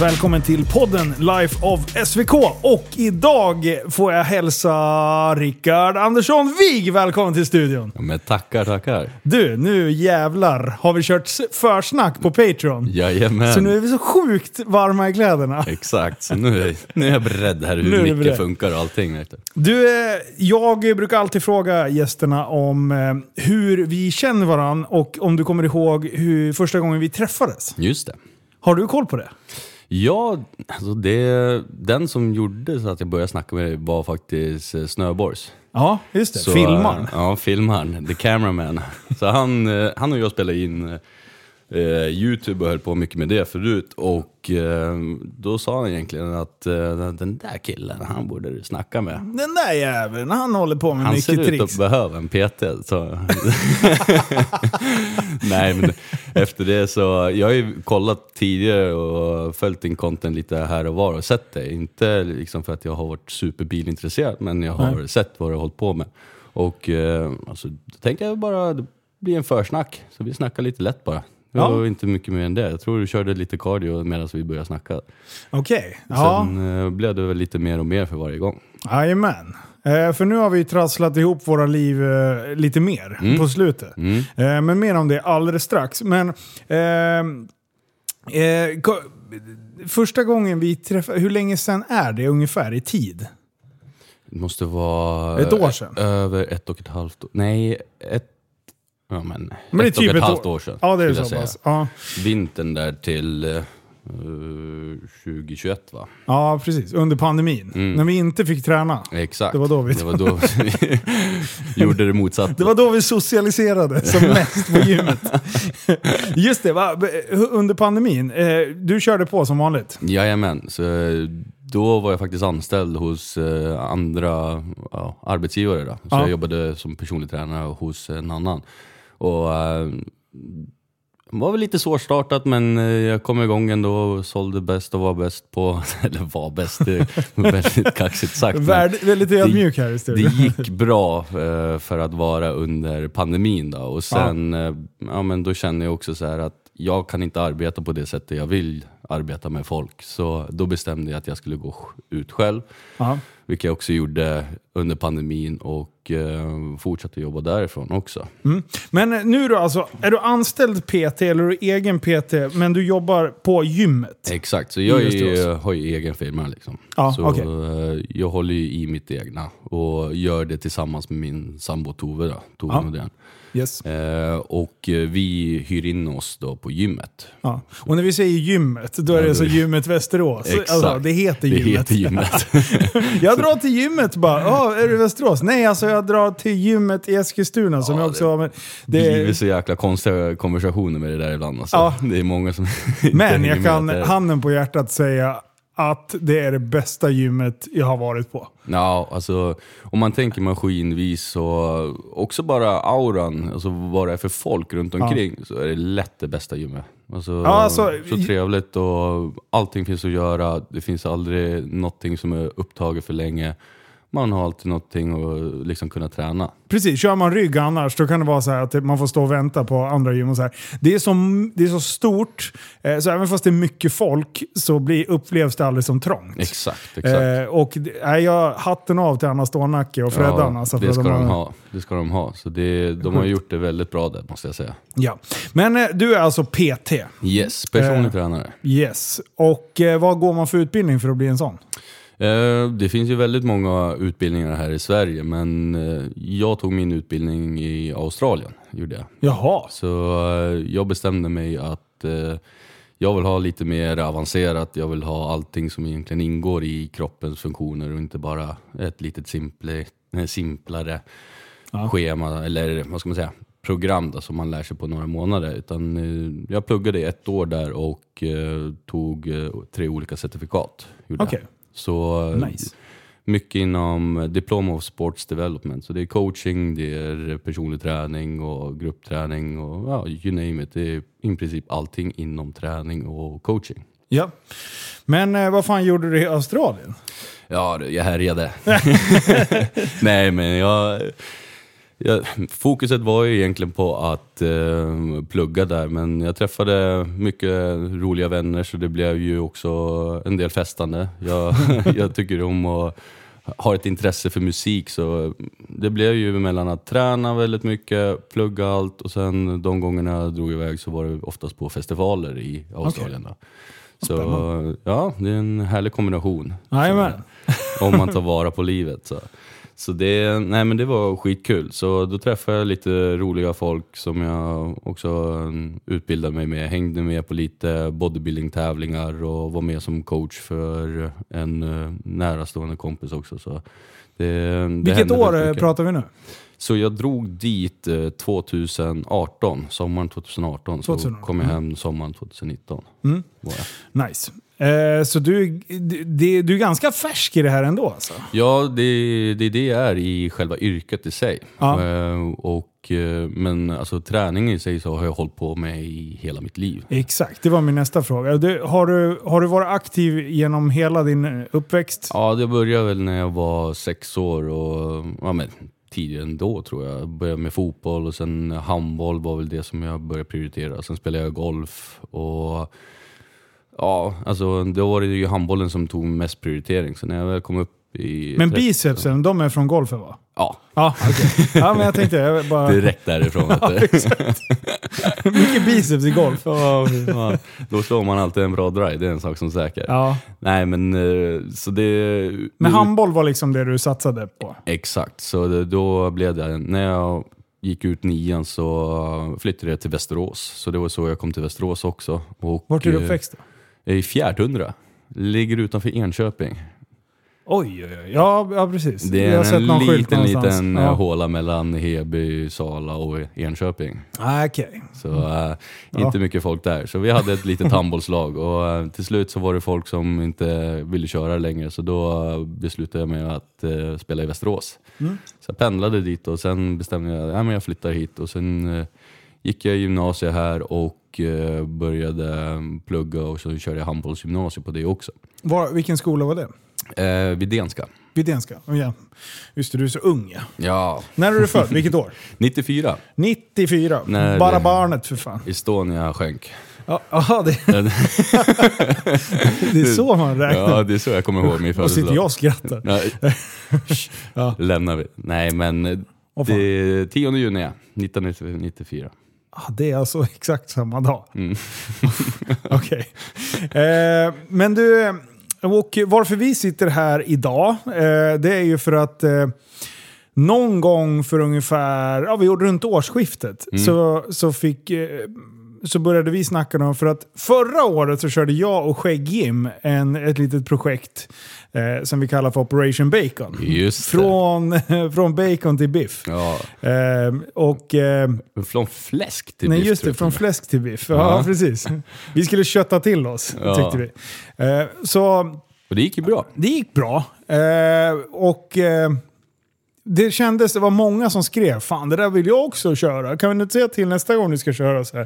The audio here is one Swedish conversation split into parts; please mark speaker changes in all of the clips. Speaker 1: Välkommen till podden Life of SVK. Och idag får jag hälsa Rickard Andersson Wig välkommen till studion.
Speaker 2: Men tackar, tackar.
Speaker 1: Du, nu jävlar har vi kört s- försnack på Patreon.
Speaker 2: Jajamän.
Speaker 1: Så nu är vi så sjukt varma i kläderna.
Speaker 2: Exakt, så nu är, nu är jag beredd här
Speaker 1: Nu är du
Speaker 2: hur
Speaker 1: beredd.
Speaker 2: mycket funkar och allting. Vet du.
Speaker 1: Du, eh, jag brukar alltid fråga gästerna om eh, hur vi känner varandra och om du kommer ihåg hur första gången vi träffades.
Speaker 2: Just det.
Speaker 1: Har du koll på det?
Speaker 2: Ja, alltså det, den som gjorde så att jag började snacka med dig var faktiskt eh, Snöborgs.
Speaker 1: Ja, just det.
Speaker 2: Så,
Speaker 1: Filmaren.
Speaker 2: eh, Ja, filmaren. The cameraman. Så han, eh, han och jag spelade in eh, Youtube och höll på mycket med det förut. Och eh, då sa han egentligen att eh, den där killen, han borde du snacka med.
Speaker 1: Den där jäveln, han håller på med
Speaker 2: Han ser
Speaker 1: mycket
Speaker 2: ut
Speaker 1: tricks.
Speaker 2: att behöva en PT. Så. Nej, men efter det så... Jag har ju kollat tidigare och följt din content lite här och var och sett det. Inte liksom för att jag har varit superbilintresserad, men jag har sett vad du har hållit på med. Och eh, alltså, då tänkte jag bara, det blir en försnack. Så vi snackar lite lätt bara. Det
Speaker 1: Ja.
Speaker 2: var inte mycket mer än det. Jag tror du körde lite cardio medan vi började snacka.
Speaker 1: Okej, ja.
Speaker 2: Sen eh, blev det väl lite mer och mer för varje gång.
Speaker 1: Jajamän. Eh, för nu har vi ju trasslat ihop våra liv eh, lite mer
Speaker 2: Mm.
Speaker 1: på slutet. Eh, men mer om det alldeles strax. Men ehm, eh, ko- första gången vi träffade, hur länge sedan är det ungefär i tid?
Speaker 2: Det måste vara...
Speaker 1: Ett år sedan.
Speaker 2: Över ett och ett halvt år. Nej, ett... Ja, men,
Speaker 1: Men det är
Speaker 2: ett
Speaker 1: typ
Speaker 2: och
Speaker 1: ett
Speaker 2: ett halvt
Speaker 1: år.
Speaker 2: år sedan.
Speaker 1: Ja, det är
Speaker 2: skulle jag
Speaker 1: så
Speaker 2: säga.
Speaker 1: pass. Ja.
Speaker 2: Vintern där till eh, eh, 2021 va?
Speaker 1: ja, precis. Under pandemin.
Speaker 2: Mm.
Speaker 1: När vi inte fick träna.
Speaker 2: Exakt.
Speaker 1: Det var då vi-
Speaker 2: Det var då vi gjorde det motsatta.
Speaker 1: Det var då vi socialiserade som mest på gymmet. Just det, va? under pandemin. Eh, du körde på som vanligt.
Speaker 2: Jajamän, så eh, då var jag faktiskt anställd hos eh, andra ja, arbetsgivare. Då. Så
Speaker 1: Ja.
Speaker 2: jag jobbade som personlig tränare hos en annan. Och, eh, det var väl lite svårstartat men eh, jag kom igång ändå och sålde bäst och var bäst på... Eller var bäst, det var väldigt kaxigt sagt. men-
Speaker 1: Värd, väldigt ödmjuk här i
Speaker 2: det
Speaker 1: studion.
Speaker 2: gick bra eh, för att vara under pandemin. Då. Och sen, eh, ja, men då känner jag också så här att jag kan inte arbeta på det sättet jag vill arbeta med folk. Så då bestämde jag att jag skulle gå sj- ut själv,
Speaker 1: Ja.
Speaker 2: vilket jag också gjorde under pandemin och eh, fortsatte jobba därifrån också.
Speaker 1: Men nu då alltså, är du anställd PT eller är du egen PT men du jobbar på gymmet?
Speaker 2: Exakt, så jag är
Speaker 1: Just det,
Speaker 2: ju,
Speaker 1: också.
Speaker 2: har ju egen firma. Liksom.
Speaker 1: Ja,
Speaker 2: så
Speaker 1: okej.
Speaker 2: eh, Jag håller ju i mitt egna och gör det tillsammans med min sambo Tove, då, Tove
Speaker 1: Ja.
Speaker 2: Nordén.
Speaker 1: Yes.
Speaker 2: Eh, och eh, vi hyr in oss då på gymmet.
Speaker 1: Ja. Och när vi säger gymmet, då är det så gymmet Västerås. Alltså, det heter
Speaker 2: Det
Speaker 1: gymmet.
Speaker 2: heter gymmet.
Speaker 1: Jag drar till gymmet bara. Ja, är du i Västerås? Nej, alltså jag drar till gymmet i Eskilstuna som jag också har. Men,
Speaker 2: det blir
Speaker 1: det,
Speaker 2: så jäkla konstiga konversationer med det där ibland. Alltså.
Speaker 1: Ja.
Speaker 2: Det är många som
Speaker 1: men
Speaker 2: inte
Speaker 1: jag
Speaker 2: hänger
Speaker 1: kan
Speaker 2: med där.
Speaker 1: handen på hjärtat säga att det är det bästa gymmet jag har varit på.
Speaker 2: Ja, alltså om man tänker maskinvis och också bara auran, alltså vad det är för folk runt omkring, så är det lätt det bästa gymmet. Alltså,
Speaker 1: alltså,
Speaker 2: så
Speaker 1: i-
Speaker 2: trevligt och allting finns att göra. Det finns aldrig någonting som är upptaget för länge. Man har alltid någonting att liksom kunna träna.
Speaker 1: Precis, kör man rygg annars då kan det vara så här att man får stå och vänta på andra gym och så här. Det är så, det är så stort, eh, så även fast det är mycket folk så blir, upplevs det aldrig som trångt.
Speaker 2: Exakt, exakt.
Speaker 1: Eh, och det- nej, jag hatten av till Anna Stålnacke och Freddan. alltså, för
Speaker 2: det ska
Speaker 1: att
Speaker 2: de ha. Det ska de ha. Så det, de har gjort det väldigt bra där, måste jag säga.
Speaker 1: Ja. Men eh, du är alltså PT,
Speaker 2: Yes, personlig
Speaker 1: Eh.
Speaker 2: tränare.
Speaker 1: yes. Och eh, vad går man för utbildning för att bli en sån?
Speaker 2: Eh, det finns ju väldigt många utbildningar här i Sverige, men eh, jag tog min utbildning i Australien. Gjorde jag.
Speaker 1: Jaha.
Speaker 2: Så eh, jag bestämde mig att eh, jag vill ha lite mer avancerat. Jag vill ha allting som egentligen ingår i kroppens funktioner och inte bara ett litet simple, eh, simplare schema eller vad ska man säga, program då, som man lär sig på några månader. Utan eh, jag pluggade i ett år där och eh, tog eh, tre olika certifikat. gjorde jag.
Speaker 1: Okej.
Speaker 2: Så eh,
Speaker 1: Nice.
Speaker 2: mycket inom eh, Diplom of Sports Development. Så det är coaching, det är personlig träning och gruppträning och ja, you name it. Det är i princip allting inom träning och coaching.
Speaker 1: Ja. Men eh, vad fan gjorde du i Australien?
Speaker 2: Ja, du, jag härjade. Nej, men jag... Ja, fokuset var ju egentligen på att eh, plugga där, men jag träffade mycket roliga vänner så det blev ju också en del festande. Jag, jag tycker om att ha ett intresse för musik så det blev ju mellan att träna väldigt mycket, plugga allt och sen de gångerna jag drog iväg så var det oftast på festivaler i Australien. då. Så ja, det är en härlig kombination.
Speaker 1: Jajamän.
Speaker 2: Om man tar vara på livet. Så. Så det, nej men det var skitkul. Så då träffade jag lite roliga folk som jag också mm, utbildade mig med. Hängde med på lite bodybuilding-tävlingar och var med som coach för en eh, närastående kompis också. Så det, det
Speaker 1: Vilket
Speaker 2: hände
Speaker 1: år
Speaker 2: väldigt
Speaker 1: eh,
Speaker 2: mycket.
Speaker 1: pratar vi nu?
Speaker 2: Så jag drog dit eh, 2018, sommaren 2018. Så
Speaker 1: 2018,
Speaker 2: kom jag hem sommaren 2019.
Speaker 1: Mm.
Speaker 2: Var jag.
Speaker 1: Nice. Eh, så du, d- det- du är ganska färsk i det här ändå alltså?
Speaker 2: Ja, det, det är det jag är i själva yrket i sig.
Speaker 1: Ja.
Speaker 2: Eh, och, eh, men alltså, träning i sig så har jag hållit på med i hela mitt liv.
Speaker 1: Exakt, det var min nästa fråga. Du, har, du, har du varit aktiv genom hela din eh, uppväxt?
Speaker 2: Ja, det började väl när jag var sex år och ja, men, tidigare än då tror jag. Började med fotboll och sen handboll var väl det som jag började prioritera. Sen spelade jag golf och ja, alltså då var det ju handbollen som tog mest prioritering. Så när jag väl kom upp i...
Speaker 1: Men
Speaker 2: 30
Speaker 1: bicepsen, de är från golfen va?
Speaker 2: Ja,
Speaker 1: Ja, okej. ja men jag tänkte jag bara...
Speaker 2: direkt därifrån. vet du.
Speaker 1: Mycket biceps i golf.
Speaker 2: Ja, fy fan. Då slår man alltid en bra drive, det är en sak som är säker.
Speaker 1: Ja.
Speaker 2: Nej men eh, så det...
Speaker 1: Men handboll var liksom det du satsade på?
Speaker 2: Exakt, så det, då blev det... När jag gick ut nian så flyttade jag till Västerås. Så det var så jag kom till Västerås också. Och,
Speaker 1: Vart är du
Speaker 2: eh,
Speaker 1: uppväxt? Då?
Speaker 2: I Fjärthundra. Ligger utanför Enköping.
Speaker 1: Oj, oj, oj. Ja, ja precis.
Speaker 2: Det
Speaker 1: Jag har
Speaker 2: är
Speaker 1: sett
Speaker 2: en
Speaker 1: någon skylt
Speaker 2: liten,
Speaker 1: någonstans.
Speaker 2: liten eh,
Speaker 1: ja.
Speaker 2: håla mellan Heby, Sala och Enköping.
Speaker 1: Ah, okej.
Speaker 2: Så eh, inte mycket folk där. Så vi hade ett litet handbollslag och eh, till slut så var det folk som inte ville köra längre så då eh, beslutade jag mig att eh, spela i Västerås.
Speaker 1: Mm.
Speaker 2: Så jag pendlade dit och sen bestämde jag att jag flyttar hit och sen eh, gick jag gymnasiet här och eh, började eh, plugga och så körde jag handbollsgymnasium på det också.
Speaker 1: Var, vilken skola var det?
Speaker 2: Eh, Vidénska.
Speaker 1: Widénska? Oh, ja. Just det, du är så ung ja.
Speaker 2: Ja.
Speaker 1: När är du född? Vilket år?
Speaker 2: 94.
Speaker 1: 94.
Speaker 2: Nej,
Speaker 1: Bara
Speaker 2: det-
Speaker 1: barnet för fan.
Speaker 2: Estonia sjönk.
Speaker 1: Ja, aha, det, det är så man räknar.
Speaker 2: ja, det är så jag kommer ihåg min
Speaker 1: och sitter
Speaker 2: födelsedag.
Speaker 1: jag och skrattar.
Speaker 2: Nej.
Speaker 1: Ja.
Speaker 2: Lämnar vi. Nej men, eh,
Speaker 1: Åh, fan.
Speaker 2: det är 10 juni 1994.
Speaker 1: Ah, det är alltså exakt samma dag.
Speaker 2: Mm.
Speaker 1: Okej. Eh, men du, eh, och varför vi sitter här idag, eh, det är ju för att eh, någon gång för ungefär, ja vi gjorde runt årsskiftet,
Speaker 2: Mm.
Speaker 1: så, så fick eh, så började vi snacka om, för att förra året så körde jag och Skägg-Jim en- ett litet projekt eh, som vi kallar för Operation Bacon.
Speaker 2: Just det.
Speaker 1: Från, från bacon till biff.
Speaker 2: Ja,
Speaker 1: Eh, och... Eh,
Speaker 2: från fläsk till
Speaker 1: Nej,
Speaker 2: biff,
Speaker 1: just det.
Speaker 2: tror
Speaker 1: Från
Speaker 2: jag.
Speaker 1: fläsk till biff. Ja,
Speaker 2: Ja.
Speaker 1: precis. Vi skulle kötta till oss,
Speaker 2: Ja.
Speaker 1: tyckte vi. Eh, Så
Speaker 2: Och det gick ju bra.
Speaker 1: det gick bra. Eh, Och eh, det kändes, det var många som skrev fan det där vill jag också köra. Kan vi inte säga till nästa gång ni ska köra så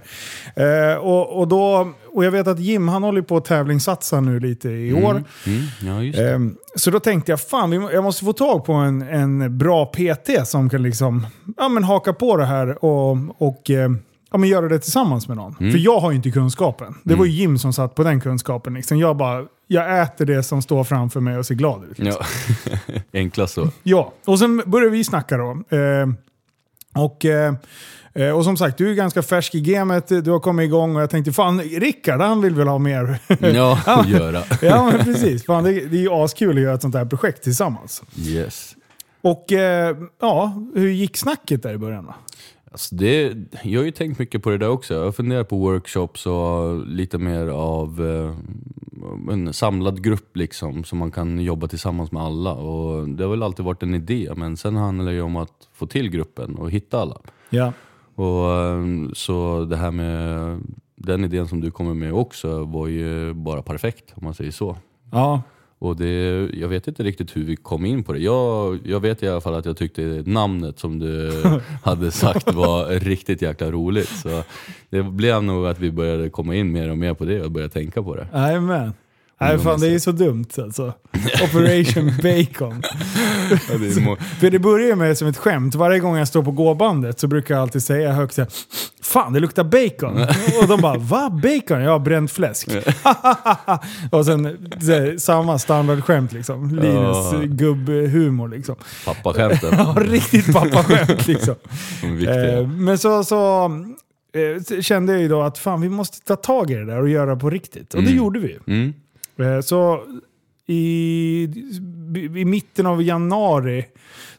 Speaker 1: här? Eh, Och, och, då, och jag vet att Jim han håller på att tävlingssatsa nu lite i år.
Speaker 2: Mm, ja, just det.
Speaker 1: Ehm, Så då tänkte jag, fan vi må- jag måste få tag på en, en bra PT som kan liksom, ja, men haka på det här och, och eh, ja, men göra det tillsammans med
Speaker 2: Mm.
Speaker 1: någon. För jag har ju inte kunskapen. Det var ju Jim som satt på den kunskapen. Liksom. Jag bara, jag äter det som står framför mig och ser glad ut.
Speaker 2: Ja. Enklast så.
Speaker 1: Ja, och sen började vi snacka då. Eh, och, eh, eh, och som sagt, du är ganska färsk i gamet, du har kommit igång och jag tänkte fan, Rickard han vill väl ha mer.
Speaker 2: Ja, att göra.
Speaker 1: ja, men precis. Fan, det, det är ju askul att göra ett sånt här projekt tillsammans.
Speaker 2: Yes.
Speaker 1: Och eh, ja, hur gick snacket där i början då?
Speaker 2: Alltså det, jag har ju tänkt mycket på det där också. Jag funderar på workshops och lite mer av eh, en samlad grupp liksom, som man kan jobba tillsammans med alla. Och det har väl alltid varit en idé, men sen handlar det ju om att få till gruppen och hitta alla.
Speaker 1: Ja.
Speaker 2: Och eh, så det här med den idén som du kommer med också var ju bara perfekt om man säger så.
Speaker 1: Ja.
Speaker 2: Och det, jag vet inte riktigt hur vi kom in på det. Jag, jag vet i alla fall att jag tyckte namnet som du hade sagt var riktigt jäkla roligt. Så det blev nog att vi började komma in mer och mer på det och började tänka på det.
Speaker 1: Jajamän. Nej fan det är ju så dumt alltså. Operation Bacon.
Speaker 2: Ja, det är må-
Speaker 1: För det börjar ju med som ett skämt. Varje gång jag står på gåbandet så brukar jag alltid säga högt så här, Fan det luktar bacon! Och de bara va? Bacon? Ja, bränt fläsk. och sen så här, samma standardskämt liksom. Linus
Speaker 2: Ja.
Speaker 1: gubbhumor liksom.
Speaker 2: Pappaskämten.
Speaker 1: Ja, riktigt pappaskämt liksom.
Speaker 2: Viktiga.
Speaker 1: Eh, men så, så eh, kände jag ju då att fan vi måste ta tag i det där och göra det på riktigt. Och det
Speaker 2: Mm.
Speaker 1: gjorde vi ju.
Speaker 2: Mm.
Speaker 1: Eh, Så i, i mitten av januari,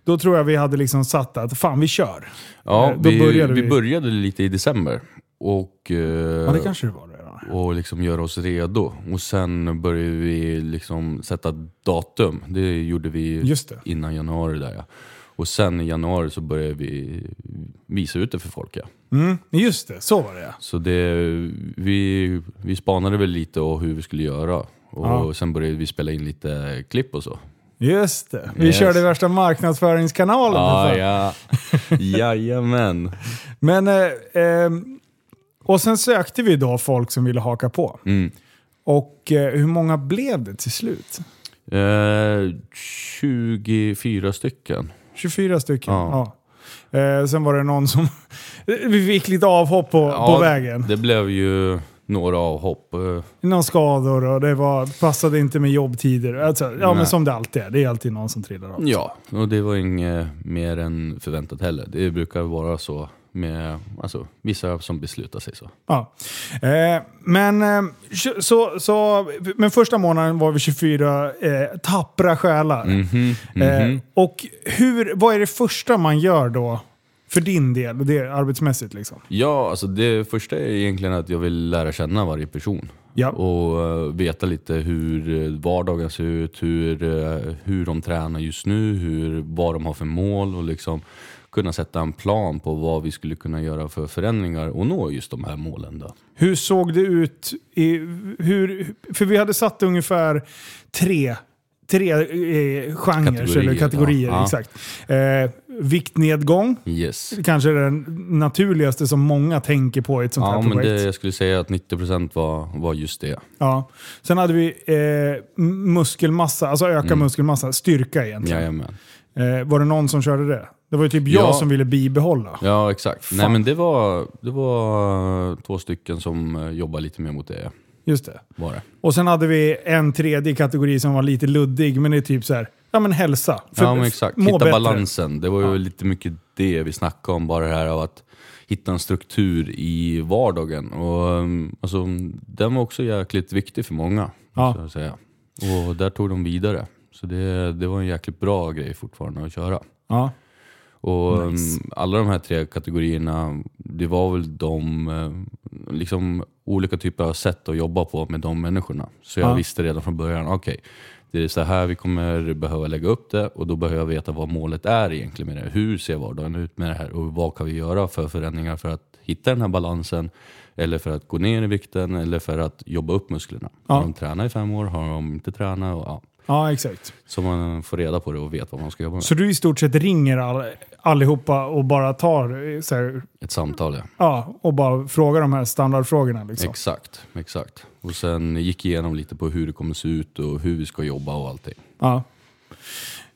Speaker 1: då tror jag vi hade liksom satt att fan vi kör.
Speaker 2: Ja,
Speaker 1: Eh, då
Speaker 2: vi,
Speaker 1: började
Speaker 2: började
Speaker 1: vi.
Speaker 2: vi började lite i december. Och, eh,
Speaker 1: Ja, det kanske det var redan.
Speaker 2: och liksom göra oss redo. Och sen började vi liksom sätta datum. Det gjorde vi
Speaker 1: Just det.
Speaker 2: innan januari. där ja. Och sen i januari så började vi visa ut det för folk. Ja.
Speaker 1: Mm, just det, så var det ja.
Speaker 2: Så det, vi, vi spanade väl lite och hur vi skulle göra. Och
Speaker 1: Ja.
Speaker 2: sen började vi spela in lite klipp och så.
Speaker 1: Just det. Vi
Speaker 2: Yes.
Speaker 1: körde värsta marknadsföringskanalen. för
Speaker 2: Ah,
Speaker 1: fan.
Speaker 2: ja. Jajamän.
Speaker 1: Men, eh, eh, och sen sökte vi då folk som ville haka på.
Speaker 2: Mm.
Speaker 1: Och eh, hur många blev det till slut?
Speaker 2: Eh, 24 stycken.
Speaker 1: 24 stycken. Ja.
Speaker 2: Ja.
Speaker 1: Eh, sen var det någon som... vi fick lite avhopp på, på vägen.
Speaker 2: Det blev ju några avhopp. Eh,
Speaker 1: Några skador och det var, passade inte med jobbtider. Alltså, ja, men
Speaker 2: Nej.
Speaker 1: som det alltid är. Det är alltid någon som trillar av.
Speaker 2: Ja, och det var inget mer än förväntat heller. Det brukar vara så med alltså, vissa som beslutar sig så.
Speaker 1: Ja. Eh, men, eh, tjo- så, så, men första månaden var vi 24 eh, tappra själar. Eh, och hur, vad är det första man gör då? För din del, det är arbetsmässigt liksom.
Speaker 2: Ja, alltså det första är egentligen att jag vill lära känna varje person.
Speaker 1: Ja.
Speaker 2: Och eh, veta lite hur eh, vardagen ser ut, hur, eh, hur de tränar just nu, hur, vad de har för mål och liksom kunna sätta en plan på vad vi skulle kunna göra för förändringar och nå just de här målen. Då.
Speaker 1: Hur såg det ut? I, hur, för vi hade satt ungefär tre, tre eh, genrer,
Speaker 2: Kategorier,
Speaker 1: eller kategorier.
Speaker 2: ja. Ja.
Speaker 1: Exakt. Eh, viktnedgång,
Speaker 2: Yes.
Speaker 1: kanske den naturligaste som många tänker på i ett sånt
Speaker 2: Ja,
Speaker 1: här
Speaker 2: men
Speaker 1: projekt.
Speaker 2: det, jag skulle säga att 90% var, var just det.
Speaker 1: Ja. Sen hade vi eh, m- muskelmassa, alltså öka
Speaker 2: Mm.
Speaker 1: muskelmassa, styrka egentligen.
Speaker 2: Jajamän.
Speaker 1: Eh, var det någon som körde det? Det var ju typ jag
Speaker 2: Ja.
Speaker 1: som ville bibehålla.
Speaker 2: Ja, exakt. Nej,
Speaker 1: Fan.
Speaker 2: men det var, det var två stycken som eh, jobbade lite mer mot det.
Speaker 1: Just det.
Speaker 2: Var det.
Speaker 1: Och sen hade vi en tredje kategori som var lite luddig, men det är typ så här, ja men hälsa. För-
Speaker 2: ja, men exakt.
Speaker 1: må
Speaker 2: Hitta
Speaker 1: bättre.
Speaker 2: balansen. Det var ju lite mycket det vi snackade om, bara det här av att hitta en struktur i vardagen. Och, um, alltså, den var också jäkligt viktig för många,
Speaker 1: Ja.
Speaker 2: så att säga. Och där tog de vidare. Så det, det var en jäkligt bra grej fortfarande att köra.
Speaker 1: Ja.
Speaker 2: Och um, alla de här tre kategorierna, det var väl de eh, liksom, olika typer av sätt att jobba på med de människorna. Så jag
Speaker 1: Ja.
Speaker 2: visste redan från början, okej, det är så här vi kommer behöva lägga upp det och då behöver jag veta vad målet är egentligen med det. Hur ser vardagen ut med det här och vad kan vi göra för förändringar för att hitta den här balansen eller för att gå ner i vikten eller för att jobba upp musklerna.
Speaker 1: Ja.
Speaker 2: Har de tränat i fem år? Har de inte tränat? Och, ja.
Speaker 1: Ja, exakt.
Speaker 2: Så man får reda på det och vet vad man ska jobba med.
Speaker 1: Så du i stort sett ringer all, allihopa och bara tar eh, så här,
Speaker 2: Ett samtal ja.
Speaker 1: ja, och bara frågar de här standardfrågorna. Liksom.
Speaker 2: Exakt, exakt. Och sen gick igenom lite på hur det kommer se ut och hur vi ska jobba och allting.
Speaker 1: Ja.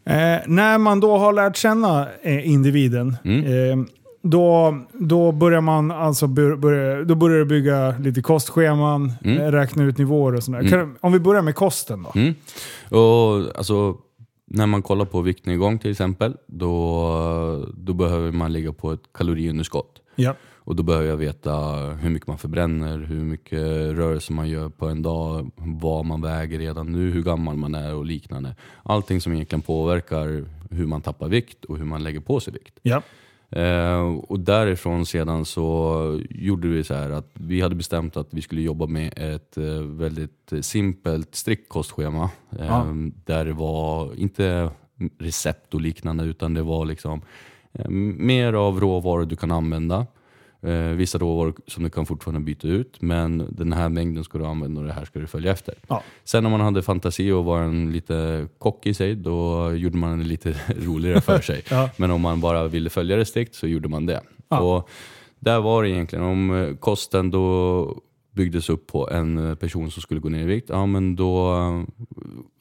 Speaker 1: Eh, när man då har lärt känna eh, individen,
Speaker 2: Mm.
Speaker 1: eh, då, då börjar man alltså bur, börja, då börjar du bygga lite kostscheman, eh, räkna ut nivåer och sådär. Kan, om vi börjar med kosten då.
Speaker 2: Mm. Och alltså, när man kollar på viktnedgång till exempel, då, då behöver man ligga på ett kaloriunderskott.
Speaker 1: Ja.
Speaker 2: Och då behöver jag veta hur mycket man förbränner, hur mycket rörelse man gör på en dag, vad man väger redan nu, hur gammal man är och liknande. Allting som egentligen påverkar hur man tappar vikt och hur man lägger på sig vikt.
Speaker 1: Ja.
Speaker 2: Eh, och därifrån sedan så gjorde vi så här att vi hade bestämt att vi skulle jobba med ett eh, väldigt simpelt strikt kostschema. Eh,
Speaker 1: Ja.
Speaker 2: Där det var inte recept och liknande utan det var liksom eh, mer av råvaror du kan använda. Eh, vissa råvaror som du kan fortfarande byta ut men den här mängden ska du använda och det här ska du följa efter.
Speaker 1: Ja.
Speaker 2: Sen om man hade fantasi och var en lite kock i sig, då gjorde man det lite roligare för sig.
Speaker 1: Ja.
Speaker 2: Men om man bara ville följa det strikt så gjorde man det.
Speaker 1: Ja.
Speaker 2: Och där var det egentligen, om eh, kosten då byggdes upp på en eh, person som skulle gå ner i vikt, ja men då eh,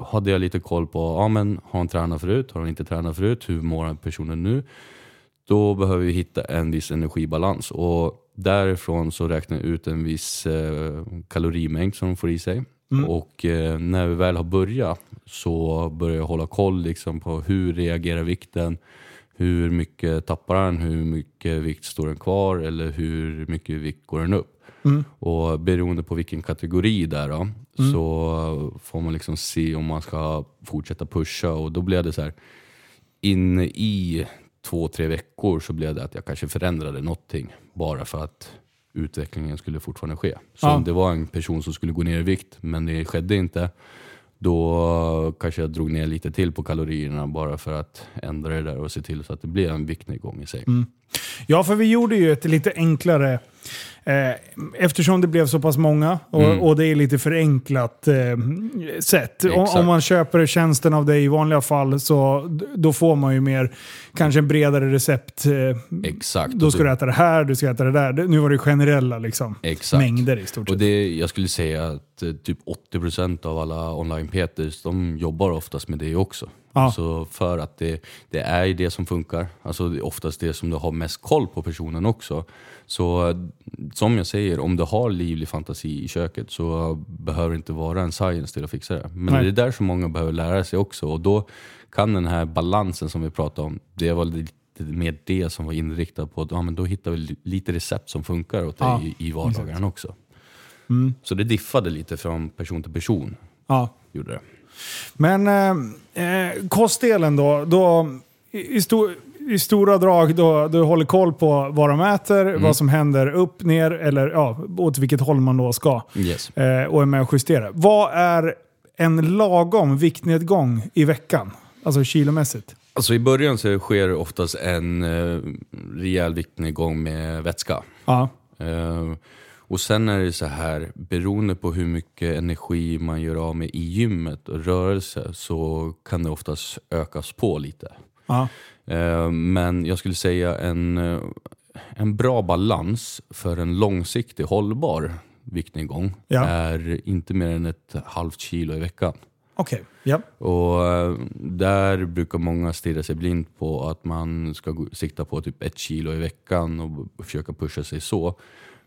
Speaker 2: hade jag lite koll på, ja men har han tränat förut, har han inte tränat förut, hur mår den personen nu? Då behöver vi hitta en viss energibalans och därifrån så räknar jag ut en viss eh, kalorimängd som de får i sig. Och eh, när vi väl har börjat så börjar jag hålla koll liksom, på hur reagerar vikten, hur mycket tappar den, hur mycket vikt står den kvar eller hur mycket vikt går den upp.
Speaker 1: Mm.
Speaker 2: Och beroende på vilken kategori där då, så får man liksom se om man ska fortsätta pusha och då blev det så här in i två, tre veckor så blev det att jag kanske förändrade någonting bara för att utvecklingen skulle fortfarande ske. Så
Speaker 1: Ja.
Speaker 2: om det var en person som skulle gå ner i vikt men det skedde inte, då kanske jag drog ner lite till på kalorierna bara för att ändra det där och se till så att det blev en viktnedgång i sig.
Speaker 1: Ja, för vi gjorde ju ett lite enklare... Eh, eftersom det blev så pass många och,
Speaker 2: Mm.
Speaker 1: och det är lite förenklat eh, sätt. Om,
Speaker 2: Exakt.
Speaker 1: om man köper tjänsten av dig i vanliga fall så d- då får man ju mer, kanske en bredare recept. Eh,
Speaker 2: Exakt.
Speaker 1: då ska du äta det här, du ska äta det där. Det- Nu var det generella liksom.
Speaker 2: Exakt.
Speaker 1: mängder i stort
Speaker 2: Och
Speaker 1: sett.
Speaker 2: det, jag skulle säga att eh, typ 80% av alla online-peters, de jobbar oftast med det också.
Speaker 1: Ja.
Speaker 2: Så för att det, det är ju det som funkar. Alltså det är oftast det som du har mest koll på personen också. Så eh, som jag säger, om du har livlig fantasi i köket så behöver det inte vara en science till att fixa det. Men
Speaker 1: Nej.
Speaker 2: det är där som många behöver lära sig också. Och då kan den här balansen som vi pratade om, det var lite mer det som var inriktat på att ja, men då hittar vi li- lite recept som funkar åt dig
Speaker 1: Ja,
Speaker 2: i, i vardagen också. Så det diffade lite från person till person.
Speaker 1: Mm. Ja.
Speaker 2: Gjorde det.
Speaker 1: Men eh, eh, kostdelen då, då i, i, sto, i stora drag då du håller koll på vad de äter,
Speaker 2: Mm.
Speaker 1: vad som händer upp, ner eller ja, åt vilket håll man då ska.
Speaker 2: Yes.
Speaker 1: Eh, och är med och justerar. Vad är en lagom viktnedgång i veckan? Alltså kilomässigt.
Speaker 2: Alltså I början så sker oftast en eh, rejäl viktnedgång med vätska.
Speaker 1: Ja.
Speaker 2: Eh, och sen är det så här, beroende på hur mycket energi man gör av med i gymmet och rörelse så kan det oftast ökas på lite.
Speaker 1: ja.
Speaker 2: Eh, Men jag skulle säga en, eh, en bra balans för en långsiktig hållbar viktnedgång
Speaker 1: Ja.
Speaker 2: är inte mer än ett halvt kilo i veckan.
Speaker 1: Okej. Ja.
Speaker 2: Och eh, där brukar många stirra sig blind på att man ska gå- sikta på typ ett kilo i veckan och b- försöka pusha sig så.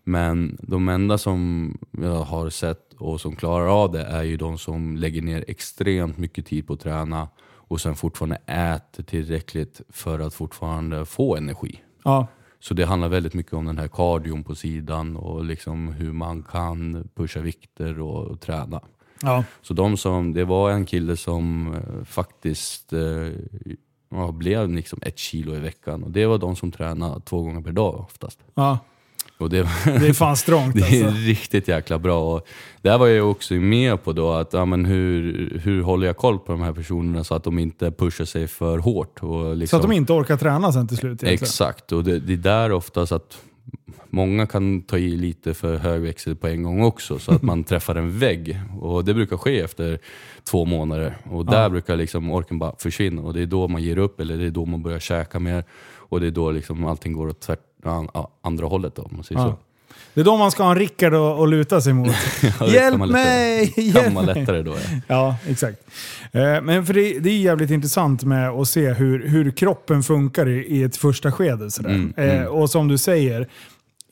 Speaker 2: Men de enda som jag har sett och som klarar av det är ju de som lägger ner extremt mycket tid på att träna och sen fortfarande äter tillräckligt för att fortfarande få energi.
Speaker 1: ja.
Speaker 2: Så det handlar väldigt mycket om den här kardion på sidan och liksom hur man kan pusha vikter och träna.
Speaker 1: Ja.
Speaker 2: Så de som, det var en kille som eh, faktiskt eh, ja, blev liksom ett kilo i veckan. Och det var de som tränade två gånger per dag oftast.
Speaker 1: Ja.
Speaker 2: Och det,
Speaker 1: Det är fan strångt
Speaker 2: det är
Speaker 1: alltså.
Speaker 2: riktigt jäkla bra. Och där var jag också med på då att ja, men hur, hur håller jag koll på de här personerna så att de inte pushar sig för hårt. Och
Speaker 1: Så
Speaker 2: liksom,
Speaker 1: att de inte orkar träna sen till slut. egentligen.
Speaker 2: Exakt, och det, det är där oftast att många kan ta i lite för hög växel på en gång också, så att man träffar en vägg. Och det brukar ske efter två månader. Och där brukar liksom orken bara försvinna och det är då man ger upp, eller det är då man börjar käka mer. Och det är då liksom allting går åt tvärt, an, a- andra hållet då, om man säger
Speaker 1: Ja.
Speaker 2: så.
Speaker 1: Det är då man ska ha en Rickard att att luta sig mot.
Speaker 2: Ja, det kan
Speaker 1: Hjälp
Speaker 2: man lättare-
Speaker 1: mig!
Speaker 2: Kan
Speaker 1: Hjälp
Speaker 2: man
Speaker 1: mig!
Speaker 2: lättare då, ja.
Speaker 1: Ja, exakt. Eh, Men för det, det är jävligt intressant med att se hur, hur kroppen funkar i, i ett första skede. Sådär.
Speaker 2: Mm,
Speaker 1: Eh, och som du säger,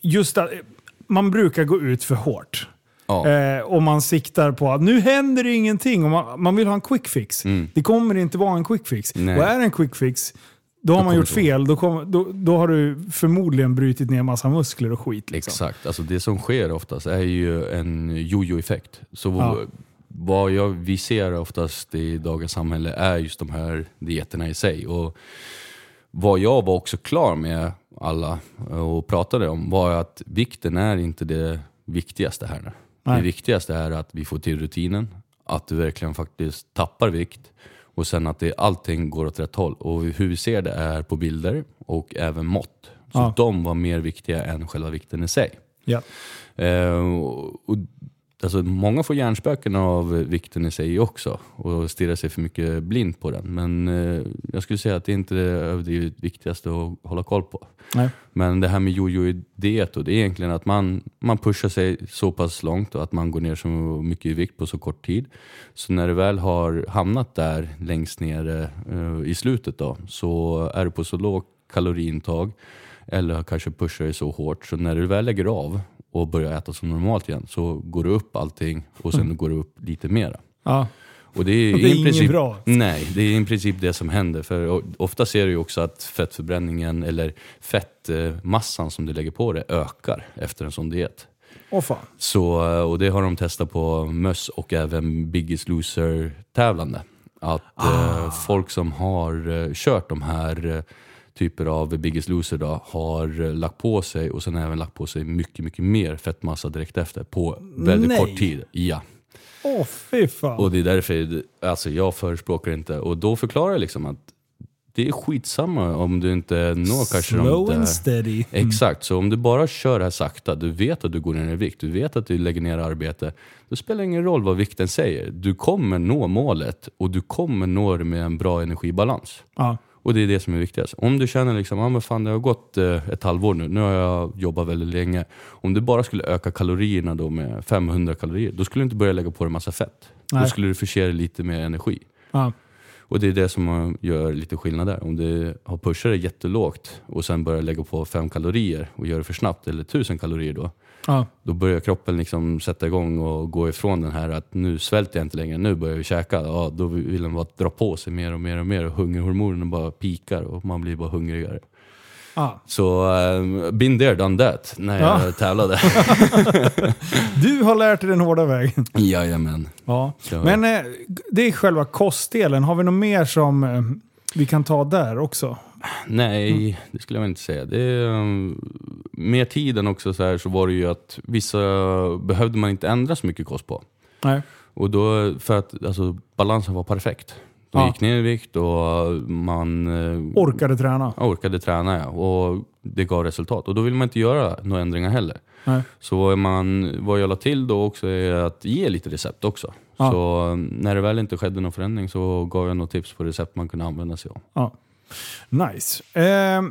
Speaker 1: just att, eh, man brukar gå ut för hårt.
Speaker 2: ja.
Speaker 1: Eh, och man siktar på att nu händer det ingenting. Och man, man vill ha en quick fix. Det kommer inte vara en quick fix.
Speaker 2: Mm. Nej.
Speaker 1: Och är det en quick fix, då har man
Speaker 2: kommer
Speaker 1: gjort
Speaker 2: det
Speaker 1: fel. Då, kom, då, då har du förmodligen brutit ner massa muskler och skit. Liksom.
Speaker 2: Exakt. Alltså det som sker oftast är ju en jojo-effekt. Så
Speaker 1: Ja.
Speaker 2: vad jag, vi ser oftast i dagens samhälle är just de här dieterna i sig. Och vad jag var också klar med alla och pratade om var att vikten är inte det viktigaste här nu.
Speaker 1: Nej.
Speaker 2: Det viktigaste är att vi får till rutinen, att du verkligen faktiskt tappar vikt och sen att det, allting går åt rätt håll. Och hur vi ser det är på bilder och även mått. Så
Speaker 1: Ja.
Speaker 2: de var mer viktiga än själva vikten i sig.
Speaker 1: Ja.
Speaker 2: Eh, och och Alltså, många får hjärnspöken av vikten i sig också och stirrar sig för mycket blind på den. Men eh, jag skulle säga att det är inte det överdrivet viktigaste att hålla koll på.
Speaker 1: Nej.
Speaker 2: Men det här med jojo-diet, då, det är egentligen att man, man pushar sig så pass långt och att man går ner så mycket i vikt på så kort tid. Så när du väl har hamnat där längst ner eh, i slutet då, så är du på så lågt kaloriintag eller har kanske pushar dig så hårt så när du väl lägger av och börjar äta som normalt igen så går du upp allting och sen går du upp lite mera.
Speaker 1: Ja.
Speaker 2: Och det är,
Speaker 1: Och Mm. det är
Speaker 2: i
Speaker 1: inget
Speaker 2: princip,
Speaker 1: bra.
Speaker 2: Nej, det är i princip det som händer. För o- ofta ser du ju också att fettförbränningen eller fettmassan som du lägger på det ökar efter en sån diet.
Speaker 1: Åh fan.
Speaker 2: Så, eh, och det har de testat på möss och även Biggest Loser-tävlande. Att
Speaker 1: Ah.
Speaker 2: eh, folk som har eh, kört de här eh, typer av Biggest Loser då, har eh, lagt på sig och sen även lagt på sig mycket, mycket mer fettmassa direkt efter på väldigt
Speaker 1: Nej.
Speaker 2: kort tid. Ja.
Speaker 1: Åh fy fan.
Speaker 2: Och det är därför alltså, jag förespråkar inte. Och då förklarar jag liksom att det är skitsamma om du inte når kanske de
Speaker 1: Slow
Speaker 2: där...
Speaker 1: and steady.
Speaker 2: Exakt, så om du bara kör det här sakta, du vet att du går ner i vikt, du vet att du lägger ner arbete. Då spelar det ingen roll vad vikten säger. Du kommer nå målet och du kommer nå det med en bra energibalans.
Speaker 1: Ja.
Speaker 2: Och det är det som är viktigast. Om du känner liksom, ah, men fan det har gått eh, ett halvår nu, nu har jag jobbat väldigt länge. Om du bara skulle öka kalorierna då med 500 kalorier, då skulle du inte börja lägga på dig massa fett. Då
Speaker 1: Nej.
Speaker 2: skulle du förse dig lite mer energi.
Speaker 1: Ja.
Speaker 2: Och det är det som eh, gör lite skillnad där. Om du har pushat det jättelågt och sen börjar lägga på 5 kalorier och gör det för snabbt, eller 1000 kalorier då.
Speaker 1: Ja.
Speaker 2: Då börjar kroppen liksom sätta igång och gå ifrån den här att nu svälter jag inte längre, nu börjar vi käka. Ja, då vill den bara dra på sig mer och mer och mer och hungerhormonerna bara pikar och man blir bara hungrigare.
Speaker 1: Ja.
Speaker 2: Så um, been there, done that, när jag tävlade.
Speaker 1: Du har lärt dig den hårda vägen.
Speaker 2: Jajamän.
Speaker 1: Ja.
Speaker 2: Ja.
Speaker 1: Men eh, det är själva kostdelen. Har vi något mer som eh, vi kan ta där också? Mm.
Speaker 2: Nej, det skulle jag väl inte säga. Det, är, um, med tiden också så, här så var det ju att vissa behövde man inte ändra så mycket kost på.
Speaker 1: Nej.
Speaker 2: Och då, för att alltså, balansen var perfekt. De
Speaker 1: Ja.
Speaker 2: gick ner i vikt och man eh,
Speaker 1: Orkade träna.
Speaker 2: orkade träna ja, och det gav resultat. Och då vill man inte göra några ändringar heller.
Speaker 1: Nej.
Speaker 2: Så vad man, vad jag la till då också är att ge lite recept också.
Speaker 1: Ja.
Speaker 2: Så eh, när det väl inte skedde någon förändring så gav jag några tips på recept man kunde använda sig av.
Speaker 1: Ja. Nice. Eh,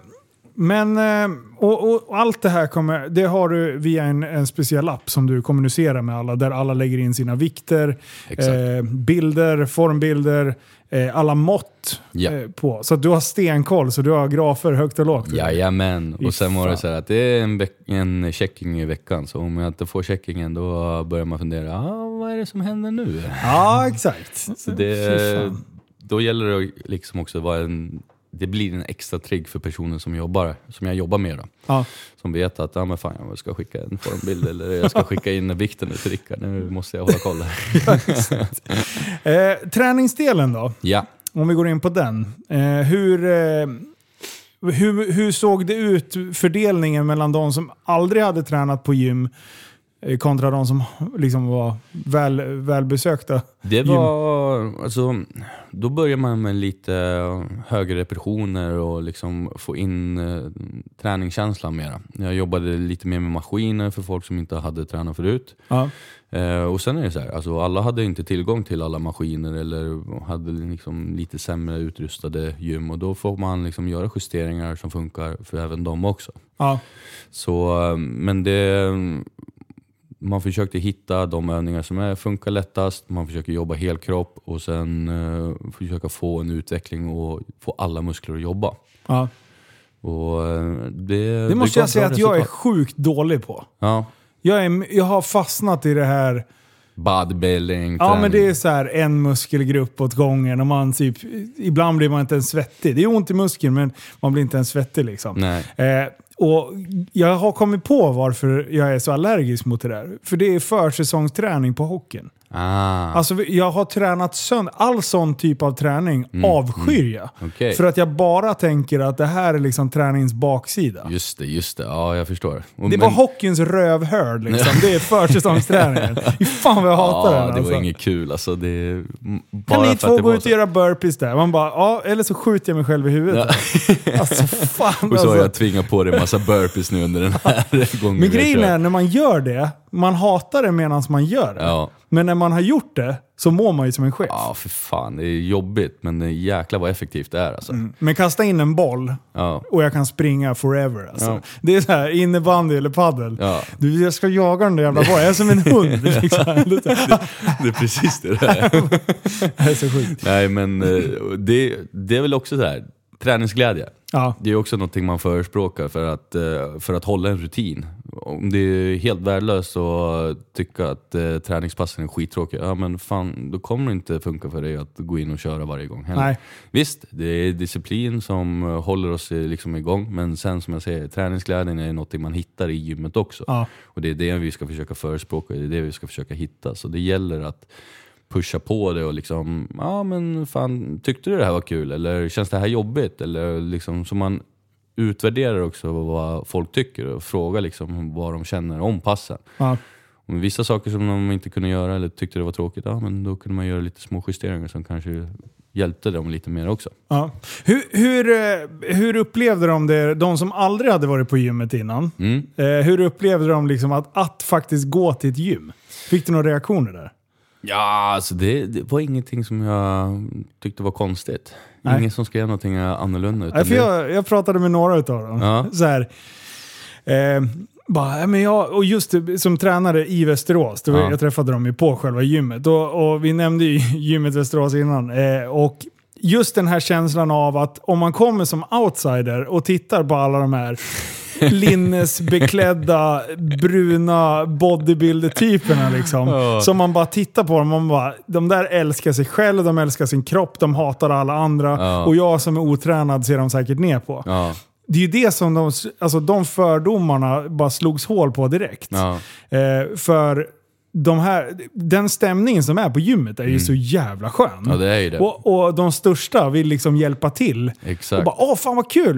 Speaker 1: men eh, och, och, och allt det här kommer, det har du via en, en speciell app som du kommunicerar med alla, där alla lägger in sina vikter,
Speaker 2: Exakt.
Speaker 1: eh, bilder, formbilder, eh, alla mått
Speaker 2: Ja.
Speaker 1: eh, på. Så att du har stenkoll, så du har grafer högt och lågt.
Speaker 2: Jajamän.
Speaker 1: Fy
Speaker 2: Och sen var det
Speaker 1: fan.
Speaker 2: så här att det är en, veck- en checking i veckan. Så om jag inte får checkingen då börjar man fundera, ah, vad är det som händer nu?
Speaker 1: Ja, exakt.
Speaker 2: Så
Speaker 1: Fy
Speaker 2: det,
Speaker 1: fan.
Speaker 2: då gäller det liksom också att vara en, det blir en extra trigg för personen som, jobbar, som jag jobbar med. Då.
Speaker 1: Ja.
Speaker 2: Som vet att ah, men fan, jag ska skicka en formbild eller jag ska skicka in vikten nu till Rickard. Nu måste jag hålla koll. här.
Speaker 1: Eh, träningsdelen då,
Speaker 2: ja.
Speaker 1: om vi går in på den. Eh, hur, eh, hur, hur såg det ut, fördelningen mellan de som aldrig hade tränat på gym eh, kontra de som liksom var väl, välbesökta?
Speaker 2: Det var, alltså, då börjar man med lite högre repetitioner och liksom få in eh, träningskänslan mera. Jag jobbade lite mer med maskiner för folk som inte hade tränat förut.
Speaker 1: Ja.
Speaker 2: Eh, och sen är det så här, alltså, alla hade inte tillgång till alla maskiner eller hade liksom lite sämre utrustade gym och då får man liksom göra justeringar som funkar för även dem också.
Speaker 1: Ja.
Speaker 2: Så, eh, men det, man försökte hitta de övningar som är, funkar lättast, man försöker jobba helkropp och sen eh, försöka få en utveckling och få alla muskler att jobba.
Speaker 1: Ja.
Speaker 2: Och, eh, det,
Speaker 1: Det måste
Speaker 2: gav
Speaker 1: jag säga
Speaker 2: bra
Speaker 1: att jag är
Speaker 2: resultat.
Speaker 1: sjukt dålig på.
Speaker 2: Ja,
Speaker 1: Jag, är, jag har fastnat i det här
Speaker 2: bodybuilding,
Speaker 1: Ja, men det
Speaker 2: träning.
Speaker 1: är så här en muskelgrupp åt gången och man typ, ibland blir man inte ens svettig. Det är ont i muskeln, men man blir inte ens svettig liksom.
Speaker 2: Nej.
Speaker 1: Eh, och jag har kommit på varför jag är så allergisk mot det där. För det är försäsongsträning på hockeyn.
Speaker 2: Ah,
Speaker 1: Alltså jag har tränat sönder, all sån typ av träning avskyr jag.
Speaker 2: Mm, okej.
Speaker 1: För att jag bara tänker att det här är liksom träningens baksida.
Speaker 2: Just det, just det. Ja, jag förstår.
Speaker 1: Det var hockeyns rövhörd liksom. Det är försäsongsträningen. Fy fan vad jag hatar
Speaker 2: Ja,
Speaker 1: den
Speaker 2: det
Speaker 1: alltså.
Speaker 2: var inget kul alltså. Det, m- bara
Speaker 1: Kan ni
Speaker 2: för att
Speaker 1: två
Speaker 2: det
Speaker 1: gå
Speaker 2: var
Speaker 1: ut
Speaker 2: så-
Speaker 1: och göra burpees där? Man bara, ja, eller så skjuter jag mig själv i huvudet. Alltså fan
Speaker 2: Och så har
Speaker 1: alltså.
Speaker 2: jag tvingat på dig en massa burpees nu under den här gången.
Speaker 1: Men
Speaker 2: vi har
Speaker 1: grejen
Speaker 2: kört.
Speaker 1: är, när man gör det, man hatar det medan man gör det.
Speaker 2: Ja.
Speaker 1: Men när man har gjort det så mår man ju som en chef.
Speaker 2: Ja, för fan. Det är jobbigt, men det är jäklar vad effektivt det är alltså.
Speaker 1: Men kasta in en boll
Speaker 2: Ja.
Speaker 1: och jag kan springa forever. Alltså.
Speaker 2: Ja.
Speaker 1: Det är så här, innebandy eller padel.
Speaker 2: Ja.
Speaker 1: Du, jag ska jaga den där jävla bollen. Jag är som en hund. Liksom.
Speaker 2: Det är precis det där.
Speaker 1: Det är så sjukt.
Speaker 2: Nej, men eh, det, det är väl också så här. träningsglädje.
Speaker 1: Ja.
Speaker 2: Det är också någonting man förespråkar för att, eh, för att hålla en rutin. Om det är helt värdelöst att tycka att eh, träningspassen är skittråkiga, ja men fan, då kommer det inte funka för dig att gå in och köra varje gång heller.
Speaker 1: Nej.
Speaker 2: Visst, det är disciplin som eh, håller oss eh, liksom igång, men sen som jag säger, träningsglädjen är någonting man hittar i gymmet också.
Speaker 1: Ja.
Speaker 2: Och det är det vi ska försöka förespråka, det är det vi ska försöka hitta. Så det gäller att pusha på det och liksom, ja ah, men fan, tyckte du det här var kul? Eller känns det här jobbigt? Eller liksom, så man utvärderar också vad folk tycker och frågar liksom vad de känner om passen.
Speaker 1: Ja.
Speaker 2: Om vissa saker som de inte kunde göra eller tyckte det var tråkigt, ja men då kunde man göra lite små justeringar som kanske hjälpte dem lite mer också.
Speaker 1: Ja. Hur, hur, eh, hur upplevde de det, de som aldrig hade varit på gymmet innan?
Speaker 2: Mm.
Speaker 1: Eh, hur upplevde de liksom att, att faktiskt gå till ett gym? Fick du några reaktioner där?
Speaker 2: Ja, alltså det, det var ingenting som jag tyckte var konstigt.
Speaker 1: Nej.
Speaker 2: Ingen som skrev någonting annorlunda. utan
Speaker 1: Nej, för
Speaker 2: det-
Speaker 1: jag, jag pratade med några utav dem.
Speaker 2: Ja.
Speaker 1: Så här, eh, bara, "Ja, men jag, och just det, som tränare i Västerås, då
Speaker 2: Ja.
Speaker 1: jag träffade dem ju på själva gymmet. Och, och vi nämnde ju gymmet Västerås innan. Eh, och just den här känslan av att om man kommer som outsider och tittar på alla de här linnesbeklädda bruna bodybuilder-typerna liksom.
Speaker 2: Ja.
Speaker 1: Som man bara tittar på dem och man bara, de där älskar sig själv, de älskar sin kropp, de hatar alla andra.
Speaker 2: Ja.
Speaker 1: Och jag som är otränad ser de säkert ner på.
Speaker 2: Ja,
Speaker 1: Det är ju det som de, alltså de fördomarna bara slogs hål på direkt.
Speaker 2: ja.
Speaker 1: Eh, för de här, den stämningen som är på gymmet är ju så jävla skön.
Speaker 2: Mm. ja, det är ju det.
Speaker 1: Och, och de största vill liksom hjälpa till.
Speaker 2: Exakt.
Speaker 1: Och bara åh fan vad kul!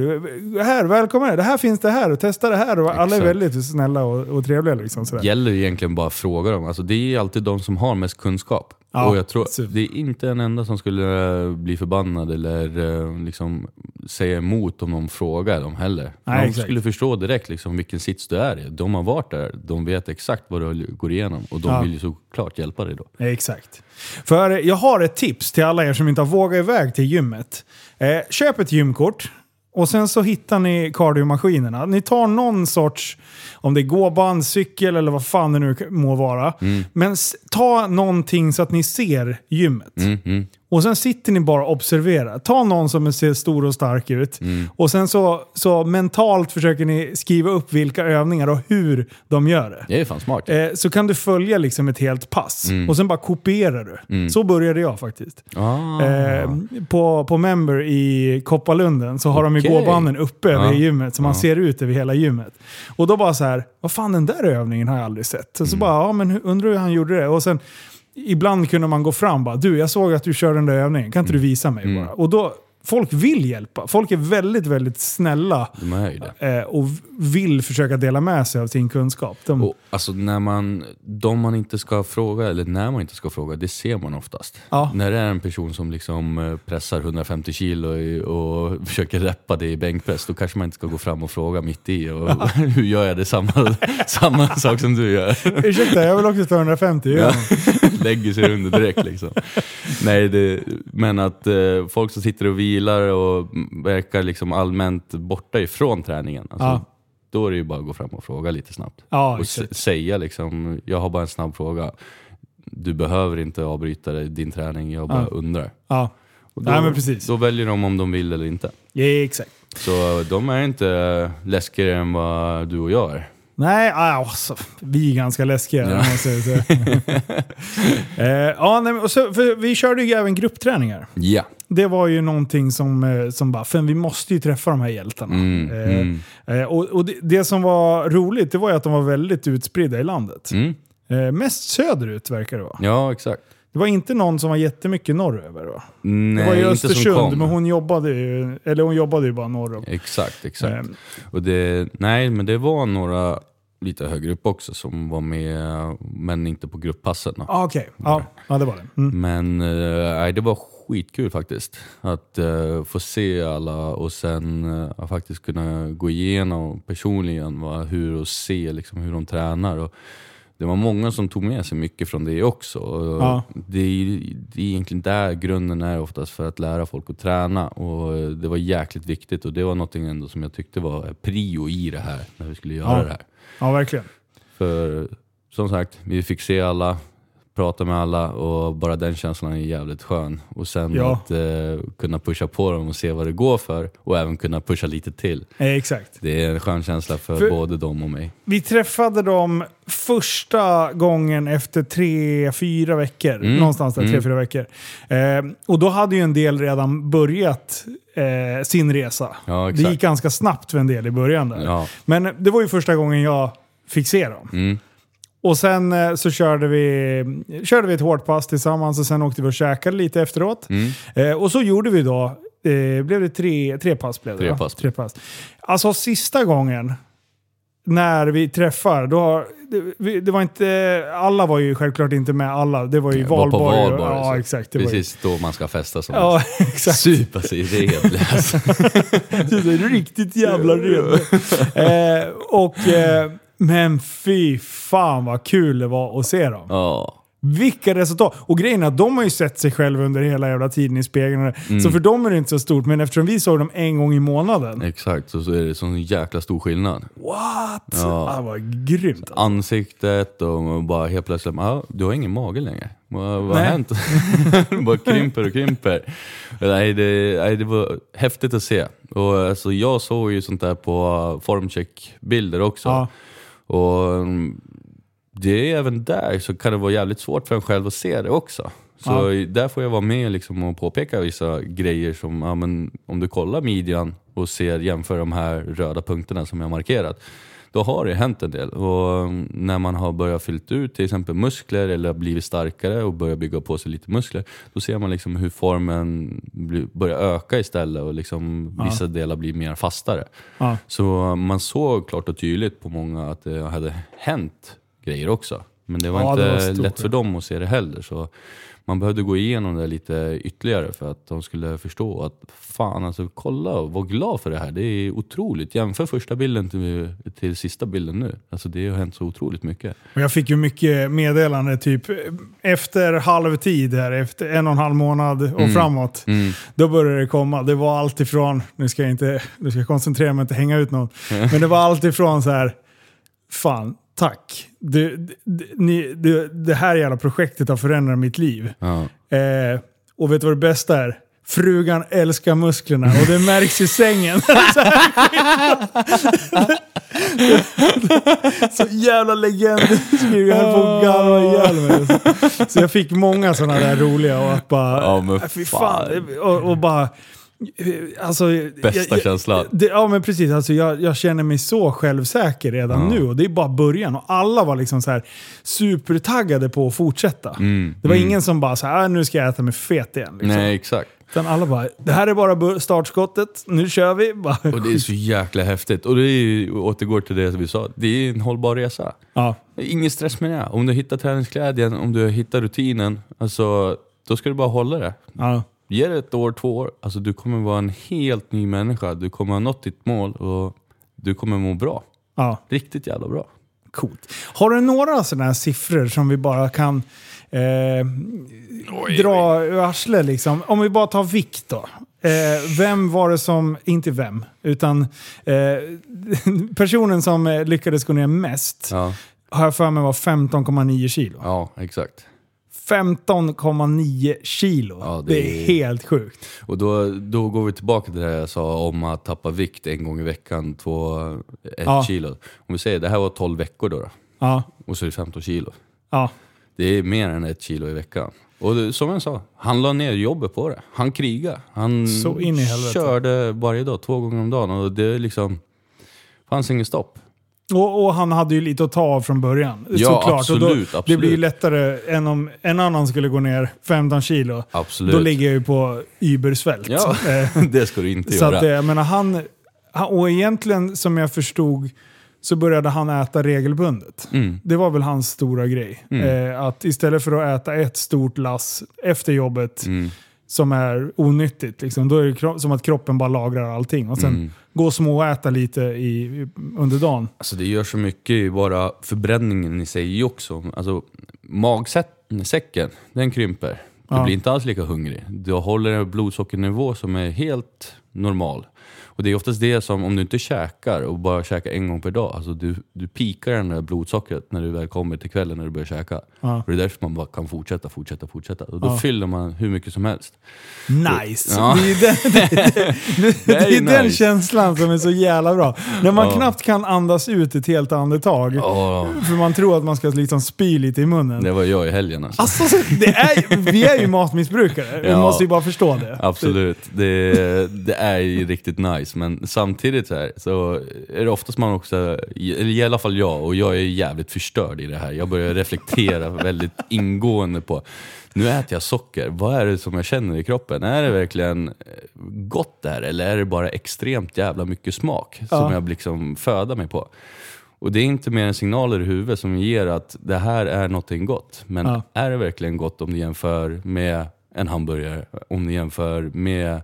Speaker 1: Här, välkommen här. Det här finns det här och testa det här. Och alla är
Speaker 2: Exakt.
Speaker 1: väldigt snälla och, och trevliga liksom. Sådär.
Speaker 2: gäller ju egentligen bara att fråga dem. Alltså, det är ju alltid de som har mest kunskap.
Speaker 1: Ja,
Speaker 2: och jag tror
Speaker 1: så-
Speaker 2: Det är inte en enda som skulle eh, bli förbannad eller eh, liksom, säga emot om någon frågar dem heller.
Speaker 1: Nej,
Speaker 2: de
Speaker 1: exakt.
Speaker 2: skulle förstå direkt liksom, vilken sits du är i. De har varit där, de vet exakt vad du går igenom och de
Speaker 1: Ja.
Speaker 2: vill ju såklart hjälpa dig då.
Speaker 1: Exakt. För jag har ett tips till alla er som inte har vågat iväg till gymmet. Eh, köp ett gymkort och sen så hittar ni kardiomaskinerna. Ni tar någon sorts, om det är gåband, cykel eller vad fan det nu må vara. Men s- ta någonting så att ni ser gymmet. Och sen sitter ni bara och observerar. Ta någon som ser stor och stark ut. Och sen så, så mentalt försöker ni skriva upp vilka övningar och hur de gör det.
Speaker 2: Det är fan smart.
Speaker 1: Eh, så kan du följa liksom ett helt pass
Speaker 2: Mm.
Speaker 1: och sen bara kopierar du. Så började jag faktiskt.
Speaker 2: Ah.
Speaker 1: Eh, på, på Member i Kopparlunden så har de
Speaker 2: Okej. Ah.
Speaker 1: ju gåbanden uppe över
Speaker 2: Ja.
Speaker 1: gymmet så man ser ut över hela gymmet. Och då bara så här, vad fan den där övningen har jag aldrig sett.
Speaker 2: Mm.
Speaker 1: Och så bara, ja men hur- undrar hur han gjorde det. Och sen ibland kunde man gå fram bara, du jag såg att du kör den där övningen, kan inte
Speaker 2: Mm.
Speaker 1: du visa mig bara? Och då, folk vill hjälpa. Folk är väldigt, väldigt snälla.
Speaker 2: De är ju det.
Speaker 1: eh, Och v- vill försöka dela med sig av sin kunskap. De,
Speaker 2: Och, alltså, när man, de man inte ska fråga, eller när man inte ska fråga, det ser man oftast.
Speaker 1: Ja.
Speaker 2: När det är en person som liksom eh, pressar 150 kilo i, och försöker reppa det i bänkpress, då kanske man inte ska gå fram och fråga mitt i. Och, hur gör jag det? Samma, samma sak som du gör.
Speaker 1: Ursäkta, jag vill också ta 150. Ja.
Speaker 2: Lägger sig under direkt liksom. Nej, det, men att eh, folk som sitter och vilar och verkar liksom allmänt borta ifrån träningen. Alltså,
Speaker 1: Ja.
Speaker 2: Då är det ju bara att gå fram och fråga lite snabbt.
Speaker 1: Ja,
Speaker 2: och
Speaker 1: exakt.
Speaker 2: s- säga liksom, jag har bara en snabb fråga. Du behöver inte avbryta dig- din träning, jag bara
Speaker 1: Ja.
Speaker 2: undrar.
Speaker 1: Ja.
Speaker 2: Och
Speaker 1: Nej, men precis.
Speaker 2: då väljer de om de vill eller inte.
Speaker 1: ja, exakt.
Speaker 2: Så eh, de är inte eh, läskigare än vad du och jag är.
Speaker 1: Nej, alltså, vi är ganska läskiga.
Speaker 2: Ja.
Speaker 1: om man säger så. eh, ja, nej, men, och så, för vi körde ju även gruppträningar.
Speaker 2: Ja.
Speaker 1: Det var ju någonting som, eh, som bara, fan vi måste ju träffa de här hjältarna.
Speaker 2: Mm,
Speaker 1: Eh,
Speaker 2: mm.
Speaker 1: eh, och och det, det som var roligt, det var ju att de var väldigt utspridda i landet.
Speaker 2: Mm.
Speaker 1: Eh, mest söderut verkar det vara.
Speaker 2: Ja, exakt.
Speaker 1: Det var inte någon som var jättemycket norröver va?
Speaker 2: Nej,
Speaker 1: det var ju
Speaker 2: inte som kom.
Speaker 1: Östersund, men hon jobbade ju, eller hon jobbade ju bara norröver.
Speaker 2: Exakt, exakt.
Speaker 1: Eh,
Speaker 2: Och det, nej, men det var några lite högre upp också som var med, men inte på grupppassen. då.
Speaker 1: ah, Okej, ja, ja det var det. Mm.
Speaker 2: Men eh, nej, det var skitkul faktiskt. Att eh, få se alla och sen eh, faktiskt kunna gå igenom personligen va, hur och se liksom, hur de tränar. Och, det var många som tog med sig mycket från det också. Och
Speaker 1: Ja.
Speaker 2: Det, är, ju- det är egentligen där grunden är oftast för att lära folk att träna. Och eh, det var jäkligt viktigt och det var någonting ändå som jag tyckte var prio i det här, när vi skulle göra
Speaker 1: Ja.
Speaker 2: det här.
Speaker 1: Ja, verkligen.
Speaker 2: För som sagt, vi fick se alla, prata med alla och bara den känslan är jävligt skön. Och sen
Speaker 1: Ja.
Speaker 2: att eh, kunna pusha på dem och se vad det går för och även kunna pusha lite till.
Speaker 1: Eh, exakt.
Speaker 2: Det är en skön känsla för,
Speaker 1: För-
Speaker 2: både dem och mig.
Speaker 1: Vi träffade dem första gången efter tre, fyra veckor. Någonstans där, tre, fyra veckor. Eh, och då hade ju en del redan börjat eh, sin resa.
Speaker 2: Ja,
Speaker 1: det
Speaker 2: exakt.
Speaker 1: gick ganska snabbt för en del i början där.
Speaker 2: Ja.
Speaker 1: Men det var ju första gången jag fick se dem.
Speaker 2: Mm.
Speaker 1: Och sen eh, så körde vi, körde vi ett hårt pass tillsammans och sen åkte vi och käkade lite efteråt.
Speaker 2: mm.
Speaker 1: Eh, och så gjorde vi då, eh, blev det tre, tre pass? Blev det,
Speaker 2: Tre
Speaker 1: va?
Speaker 2: pass.
Speaker 1: tre pass. Alltså sista gången när vi träffar, då har, det, vi, det var inte, alla var ju självklart inte med alla. Det var ju
Speaker 2: Det var på
Speaker 1: valborg. och-
Speaker 2: valborg,
Speaker 1: ja,
Speaker 2: så.
Speaker 1: exakt. Det var ju,
Speaker 2: Precis då man ska festa som
Speaker 1: ja,
Speaker 2: ja,
Speaker 1: exakt.
Speaker 2: Supa sig redlös.
Speaker 1: Riktigt jävla redo. eh, och, eh, men fy fan vad kul det var att se dem.
Speaker 2: ja.
Speaker 1: Vilka resultat! Och grejen är att de har ju sett sig själva under hela jävla tiden i spegeln. och det. Så för dem är det inte så stort, men eftersom vi såg dem en gång i månaden.
Speaker 2: Exakt, så, så är det sån jäkla stor skillnad.
Speaker 1: What? Ja. Det var grymt.
Speaker 2: Ansiktet och bara helt plötsligt, ah, du har ingen mage längre. Vad vad har
Speaker 1: Nej.
Speaker 2: hänt? bara krymper och krymper. Nej det, nej, det var häftigt att se. Och, alltså, jag såg ju sånt där på formcheck-bilder också.
Speaker 1: Ja.
Speaker 2: Och mm, det är även där så kan det vara jävligt svårt för en själv att se det också. Så där får jag vara med liksom och påpeka vissa grejer som, ja, men om du kollar midjan och ser, jämför de här röda punkterna som jag har markerat. Då har det hänt en del. Och mm, när man har börjat fyllt ut till exempel muskler eller har blivit starkare och börjar bygga på sig lite muskler. Då ser man liksom hur formen blir- börjar öka istället och liksom vissa delar blir mer fastare.
Speaker 1: Ja.
Speaker 2: Så man såg klart och tydligt på många att det hade hänt grejer också. Men det var
Speaker 1: Ja,
Speaker 2: inte
Speaker 1: det var stor
Speaker 2: lätt för dem att se det heller. Så man behövde gå igenom det lite ytterligare för att de skulle förstå att fan alltså kolla och var glad för det här. Det är otroligt. Jämför första bilden till, till sista bilden nu. Alltså det har hänt så otroligt mycket.
Speaker 1: Och jag fick ju mycket meddelande typ efter halvtid här, efter en och en halv månad och framåt.
Speaker 2: Mm.
Speaker 1: Då började det komma. Det var allt ifrån, nu ska jag inte, nu ska jag koncentrera mig och inte hänga ut någon. Men det var allt ifrån så här, fan, tack. Du, d- d- ni, du, det här jävla projektet har förändrat mitt liv.
Speaker 2: Ja.
Speaker 1: Eh, och vet du vad det bästa är? Frugan älskar musklerna och det märks i sängen. Så jävla legend. Jag höll på att garva ihjäl mig. Så jag fick många sådana där roliga och att bara...
Speaker 2: Ja, men
Speaker 1: "Äh, fy
Speaker 2: fan."
Speaker 1: Och, och bara... Alltså,
Speaker 2: Bästa
Speaker 1: jag, jag,
Speaker 2: känslan.
Speaker 1: det, ja men precis, alltså jag, jag känner mig så självsäker redan nu och det är bara början. Och alla var liksom så här supertaggade på att fortsätta. Det var ingen som bara så här, "Ah, nu ska jag äta mig fet igen. Liksom.
Speaker 2: Mm. Nej exakt.
Speaker 1: Utan alla bara, det här är bara bör- startskottet, nu kör vi. Bara,
Speaker 2: Och det är så jäkla häftigt. Och det är ju, återgår till det vi sa, det är en hållbar resa.
Speaker 1: ja.
Speaker 2: Ingen stress med det. Om du hittar träningsglädjen, om du hittar rutinen, alltså, då ska du bara hålla det.
Speaker 1: Ja.
Speaker 2: Ge det ett år, två år. Alltså, du kommer vara en helt ny människa. Du kommer ha nått ditt mål och du kommer må bra.
Speaker 1: ja.
Speaker 2: Riktigt jävla bra.
Speaker 1: Coolt. Har du några sådana här siffror som vi bara kan eh, dra ur arslet? Liksom? Om vi bara tar vikt då. Eh, vem var det som, inte vem, utan eh, personen som eh, lyckades gå ner mest
Speaker 2: Ja,
Speaker 1: har jag för mig var 15,9 kilo.
Speaker 2: ja exakt.
Speaker 1: 15,9 kilo!
Speaker 2: Ja,
Speaker 1: det,
Speaker 2: det
Speaker 1: är
Speaker 2: är-
Speaker 1: helt sjukt.
Speaker 2: Och då, då går vi tillbaka till det här jag sa om att tappa vikt en gång i veckan, två, ett
Speaker 1: Ja.
Speaker 2: kilo. Om vi säger det här var 12 veckor då, då
Speaker 1: Ja,
Speaker 2: och så är det 15 kilo.
Speaker 1: ja,
Speaker 2: Det är mer än ett kilo i veckan. Och det, som jag sa, han la ner jobbet på det. Han krigade. Han
Speaker 1: Så in i helvete.
Speaker 2: körde varje dag, två gånger om dagen. Och det liksom fanns inget stopp.
Speaker 1: Och, och han hade ju lite att ta av från början.
Speaker 2: Ja,
Speaker 1: såklart. och då,
Speaker 2: absolut,
Speaker 1: Det
Speaker 2: absolut.
Speaker 1: blir ju lättare än om en annan skulle gå ner 15 kilo.
Speaker 2: Absolut.
Speaker 1: Då ligger jag ju på übersvält.
Speaker 2: Ja,
Speaker 1: Eh,
Speaker 2: det ska du inte
Speaker 1: så
Speaker 2: göra.
Speaker 1: att, eh, jag menar, han, han, och egentligen, som jag förstod, så började han äta regelbundet.
Speaker 2: Mm,
Speaker 1: Det var väl hans
Speaker 2: Mm.
Speaker 1: stora grej. Eh, att istället för att äta ett stort lass efter jobbet, som är onyttigt. Liksom. Då är det kro- som att kroppen bara lagrar allting. Och
Speaker 2: mm.
Speaker 1: sen gå och småäta lite i, i- under dagen.
Speaker 2: Alltså det gör så mycket i bara förbränningen i sig också. Alltså magsäcken, den krymper. Du
Speaker 1: Ja.
Speaker 2: blir inte alls lika hungrig. Du håller en blodsockernivå som är helt normal. Och det är oftast det som, om du inte käkar och bara käkar en gång per dag, alltså du, du pikar den där blodsockret när du väl kommer till kvällen när du börjar käka. Och det är därför man bara kan fortsätta, fortsätta, fortsätta. Och då fyller man hur mycket som helst.
Speaker 1: Nice!
Speaker 2: Ja.
Speaker 1: Det är, ju den, det, det,
Speaker 2: är
Speaker 1: det är
Speaker 2: ju
Speaker 1: den
Speaker 2: nice.
Speaker 1: känslan som är så jävla bra. När man knappt kan andas ut ett helt andetag.
Speaker 2: Åh,
Speaker 1: För man tror att man ska liksom spy lite i munnen.
Speaker 2: det var jag i helgen alltså.
Speaker 1: Alltså, så- det är, vi är ju matmissbrukare. Vi
Speaker 2: Ja.
Speaker 1: måste ju bara förstå det.
Speaker 2: Absolut, det, det är ju riktigt nice. Men samtidigt så, här, så är det oftast man också, eller i alla fall jag, och jag är jävligt förstörd i det här. Jag börjar reflektera väldigt ingående på, nu äter jag socker, vad är det som jag känner i kroppen? Är det verkligen eh, gott det här eller är det bara extremt jävla mycket smak som
Speaker 1: Ja.
Speaker 2: jag liksom föder mig på? Och det är inte mer än signaler i huvudet som ger att det här är någonting gott. Men
Speaker 1: Ja.
Speaker 2: är det verkligen gott om du jämför med en hamburgare? Om du jämför med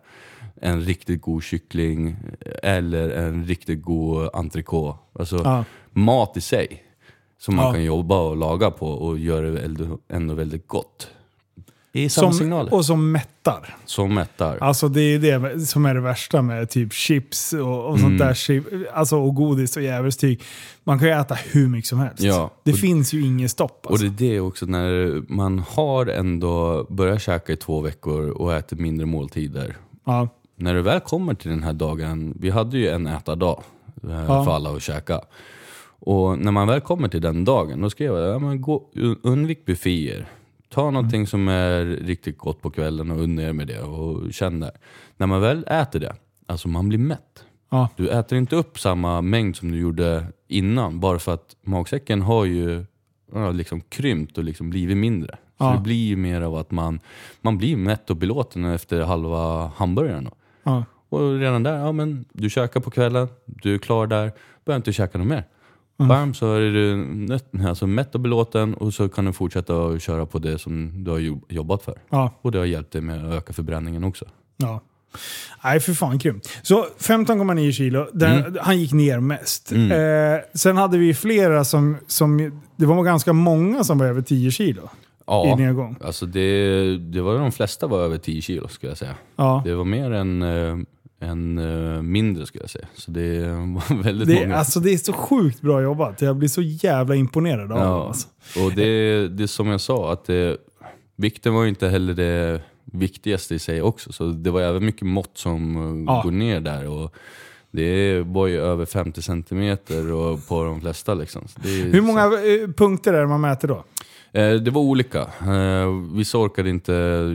Speaker 2: en riktigt god kyckling eller en riktigt god entrecote? Alltså
Speaker 1: Ja.
Speaker 2: mat i sig som man
Speaker 1: Ja.
Speaker 2: kan jobba och laga på och göra det äldre- ändå väldigt gott. Det är samma
Speaker 1: Som,
Speaker 2: signaler.
Speaker 1: och som mättar.
Speaker 2: Som mättar.
Speaker 1: Alltså det är ju det som är det värsta med typ chips och, och
Speaker 2: Mm.
Speaker 1: sånt där. chip- Alltså och godis och djävulstyg. Man kan ju äta hur mycket som helst.
Speaker 2: Ja.
Speaker 1: Det
Speaker 2: Och-
Speaker 1: finns ju inget stopp. Alltså.
Speaker 2: Och det är det också när man har ändå börjat käka i två veckor och äter mindre måltider.
Speaker 1: alltså. ja.
Speaker 2: när du väl kommer till den här dagen, vi hade ju en ätardag eh,
Speaker 1: Ja.
Speaker 2: för alla att käka. Och när man väl kommer till den dagen, då skrev jag, ja, men gå, un- undvik bufféer. Ta
Speaker 1: Mm.
Speaker 2: någonting som är riktigt gott på kvällen och unna er med det och känn det. När man väl äter det, alltså man blir mätt.
Speaker 1: Ja.
Speaker 2: Du äter inte upp samma mängd som du gjorde innan, bara för att magsäcken har ju ja, liksom krympt och liksom blivit mindre. Så
Speaker 1: Ja.
Speaker 2: det blir ju mer av att man, man blir mätt och belåten efter halva hamburgaren. Då.
Speaker 1: Ja.
Speaker 2: Och redan där, ja men du käkar på kvällen, du är klar där, behöver inte käka något mer.
Speaker 1: Mm.
Speaker 2: Bam, så är du nöt, alltså mätt och belåten och så kan du fortsätta att köra på det som du har jo- jobbat för.
Speaker 1: Ja.
Speaker 2: Och det har hjälpt dig med att öka förbränningen också.
Speaker 1: Ja. Nej, för fan grymt. Så 15,9 kilo, där,
Speaker 2: Mm.
Speaker 1: han gick ner mest. Eh, sen hade vi flera som, som, det var ganska många som var över 10 kilo i
Speaker 2: Ja,
Speaker 1: nedgång.
Speaker 2: alltså det, det var de flesta var över 10 kilo skulle jag säga.
Speaker 1: Ja.
Speaker 2: Det var mer än, eh, än eh, mindre skulle jag säga. Så det var väldigt
Speaker 1: Det,
Speaker 2: många.
Speaker 1: alltså, det är så sjukt bra jobbat. Jag blir så jävla imponerad av honom.
Speaker 2: Ja,
Speaker 1: Alltså.
Speaker 2: och det, det är som jag sa, att det, vikten var ju inte heller det viktigaste i sig också. Så det var även mycket mått som eh,
Speaker 1: Ja.
Speaker 2: går ner där. Och det var ju över 50 centimeter och på de flesta. Liksom. Så Det, är-
Speaker 1: Hur många eh, punkter är det man mäter då?
Speaker 2: Eh, Det var olika. Eh, Vissa orkade inte eh,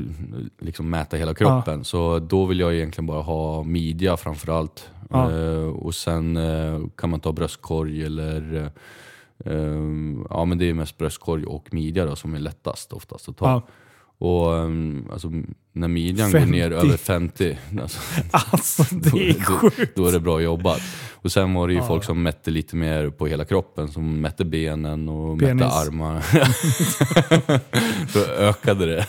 Speaker 2: liksom, mäta hela kroppen, så då vill jag egentligen bara ha midja framförallt.
Speaker 1: Ja.
Speaker 2: Och sen eh, kan man ta bröstkorg eller... eh, eh, Ja men det är mest bröstkorg och midja då, som är lättast oftast att ta.
Speaker 1: Ja.
Speaker 2: Och eh, alltså, när midjan går
Speaker 1: 50.
Speaker 2: ner över 50, alltså,
Speaker 1: Alltså det
Speaker 2: då,
Speaker 1: är
Speaker 2: då,
Speaker 1: sjukt.
Speaker 2: då är det bra jobbat. Och sen var det ju folk som mätte lite mer på hela kroppen, som mätte benen och mätte
Speaker 1: Penis.
Speaker 2: armar. då ökade det.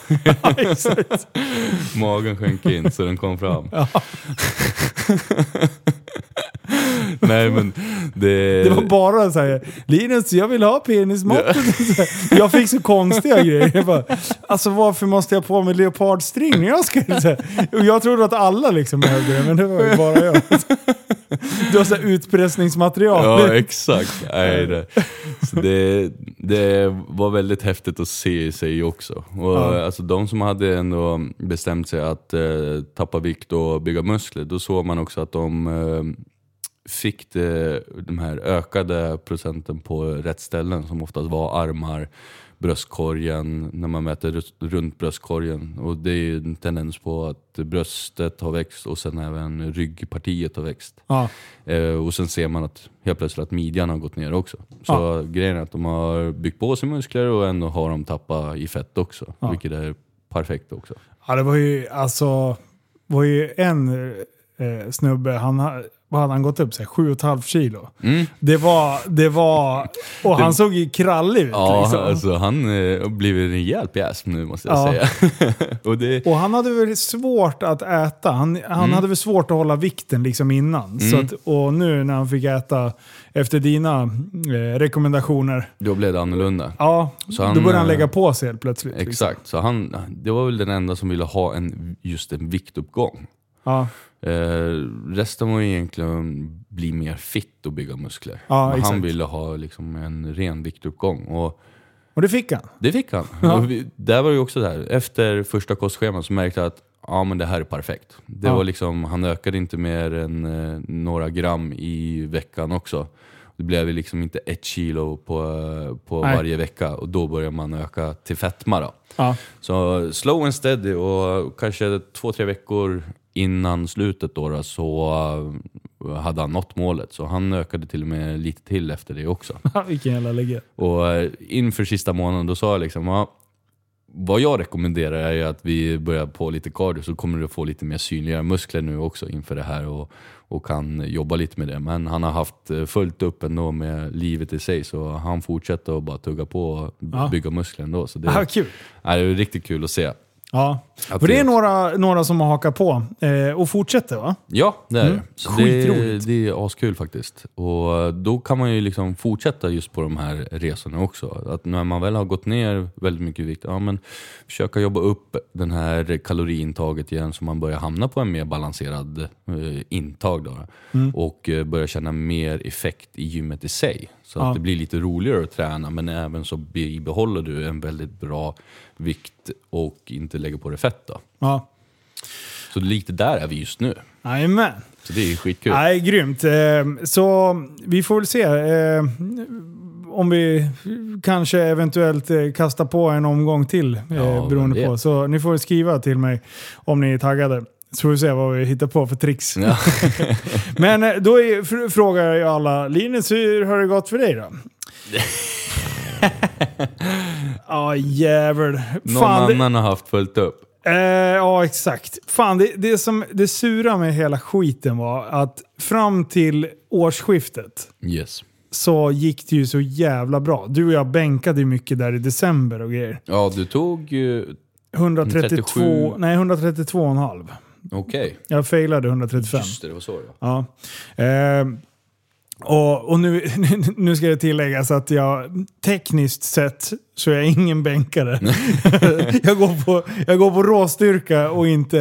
Speaker 1: Exakt.
Speaker 2: Magen sjönk in så den kom fram. Nej men det...
Speaker 1: Det var bara så här, Linus jag vill ha penismåttet. Jag fick så konstiga grejer. Jag bara, alltså varför måste jag på mig leopardstring när jag ska... Så här, och jag trodde att alla liksom behövde det, men det var ju bara jag. Det var så här utpressningsmaterial.
Speaker 2: Ja exakt. Nej, det. Så det, det var väldigt häftigt att se i sig också. Och,
Speaker 1: Ja.
Speaker 2: alltså, de som hade ändå bestämt sig att eh, tappa vikt och bygga muskler, då såg man också att de eh, fick det, de här ökade procenten på rätt ställen som oftast var armar, bröstkorgen, när man mäter rus- runt bröstkorgen. Och det är ju en tendens på att bröstet har växt och sen även ryggpartiet har växt.
Speaker 1: Ja.
Speaker 2: Eh, och sen ser man att helt plötsligt att midjan har gått ner också. Så grejen är att de har byggt på sig muskler och ändå har de tappat i fett också. Vilket är perfekt också.
Speaker 1: Ja, det var ju alltså, var ju en eh, snubbe, han ha- vad hade han gått upp? Så här, sju och ett halvt kilo.
Speaker 2: Mm.
Speaker 1: Det var, det var... Och han såg ju krallig ut
Speaker 2: Ja,
Speaker 1: liksom.
Speaker 2: alltså han eh, har blivit en rejäl pjäs nu måste jag
Speaker 1: Ja.
Speaker 2: säga. och det,
Speaker 1: Och han hade väl svårt att äta. Han, han
Speaker 2: Mm.
Speaker 1: hade väl svårt att hålla vikten liksom innan. Så att, och nu när han fick äta efter dina eh, rekommendationer,
Speaker 2: då blev det annorlunda.
Speaker 1: ja,
Speaker 2: Så han,
Speaker 1: då började han
Speaker 2: eh,
Speaker 1: lägga på sig helt plötsligt. liksom.
Speaker 2: Exakt, så han, det var väl den enda som ville ha en, just en viktuppgång.
Speaker 1: Ja,
Speaker 2: Eh, resten var ju egentligen bli mer fitt och bygga muskler.
Speaker 1: Ja,
Speaker 2: Men han
Speaker 1: exakt.
Speaker 2: ville ha liksom en ren viktuppgång. Och
Speaker 1: och det fick han.
Speaker 2: det fick han. Och vi, där var det ju också det här. Efter första kostschemat så märkte jag att ja, men det här är perfekt. Det
Speaker 1: Ja.
Speaker 2: var liksom, han ökade inte mer än eh, några gram i veckan också. Det blev ju liksom inte ett kilo på, eh, på
Speaker 1: Nej.
Speaker 2: varje vecka och då börjar man öka till fetma. Då.
Speaker 1: Ja.
Speaker 2: Så slow and steady och kanske två, tre veckor innan slutet då, då så eh, hade han nått målet. Så han ökade till och med lite till efter det också.
Speaker 1: Vilken jävla lägge.
Speaker 2: Och eh, inför sista månaden då sa jag liksom, ja, vad jag rekommenderar är ju att vi börjar på lite cardio så kommer du få lite mer synliga muskler nu också inför det här och, och kan jobba lite med det. Men han har haft eh, fullt upp ändå med livet i sig så han fortsätter att bara tugga på och b-
Speaker 1: Ja.
Speaker 2: bygga muskler ändå. Så det,
Speaker 1: Ah, kul.
Speaker 2: ja, det är riktigt kul att se.
Speaker 1: Ja.
Speaker 2: Att
Speaker 1: För det
Speaker 2: det-
Speaker 1: är några, några som har hakat på eh, och fortsätter va?
Speaker 2: Ja, det är det. Så det.
Speaker 1: Mm. Skitroligt.
Speaker 2: Det är askul faktiskt. Och eh, då kan man ju liksom fortsätta just på de här resorna också. Att när man väl har gått ner väldigt mycket i vikt, ja men försöka jobba upp den här kaloriintaget igen så man börjar hamna på en mer balanserad eh, intag. Då.
Speaker 1: Mm.
Speaker 2: Och eh, börja känna mer effekt i gymmet i sig. Så
Speaker 1: Ja.
Speaker 2: att det blir lite roligare att träna men även så bibehåller du en väldigt bra vikt och inte lägger på dig fett. Då.
Speaker 1: Ja.
Speaker 2: Så lite där är vi just nu.
Speaker 1: Jajamän.
Speaker 2: Så det är skitkul.
Speaker 1: Nej, grymt. Eh, Så vi får väl se eh, om vi kanske eventuellt eh, kastar på en omgång till eh,
Speaker 2: Ja,
Speaker 1: beroende
Speaker 2: vem
Speaker 1: på.
Speaker 2: vet.
Speaker 1: Så ni får väl skriva till mig om ni är taggade. Så får vi se vad vi hittar på för tricks.
Speaker 2: Ja.
Speaker 1: Men eh, då är, fr- frågar jag alla, Linus hur har det gått för dig då? Ja jävel.
Speaker 2: Någon
Speaker 1: Fan, det,
Speaker 2: annan har haft följt upp.
Speaker 1: Eh, ja, exakt. Fan, det, det som det sura med hela skiten var att fram till årsskiftet
Speaker 2: Yes.
Speaker 1: så gick det ju så jävla bra. Du och jag bänkade ju mycket där i december och grejer.
Speaker 2: Ja, du tog ju...
Speaker 1: 132,
Speaker 2: 37.
Speaker 1: nej 132,5.
Speaker 2: Okej.
Speaker 1: Jag failade 135.
Speaker 2: Just det, det var så ja.
Speaker 1: Ja. Eh, och och nu, nu ska det tilläggas att jag tekniskt sett så är jag ingen bänkare. jag, går på, jag går på råstyrka och inte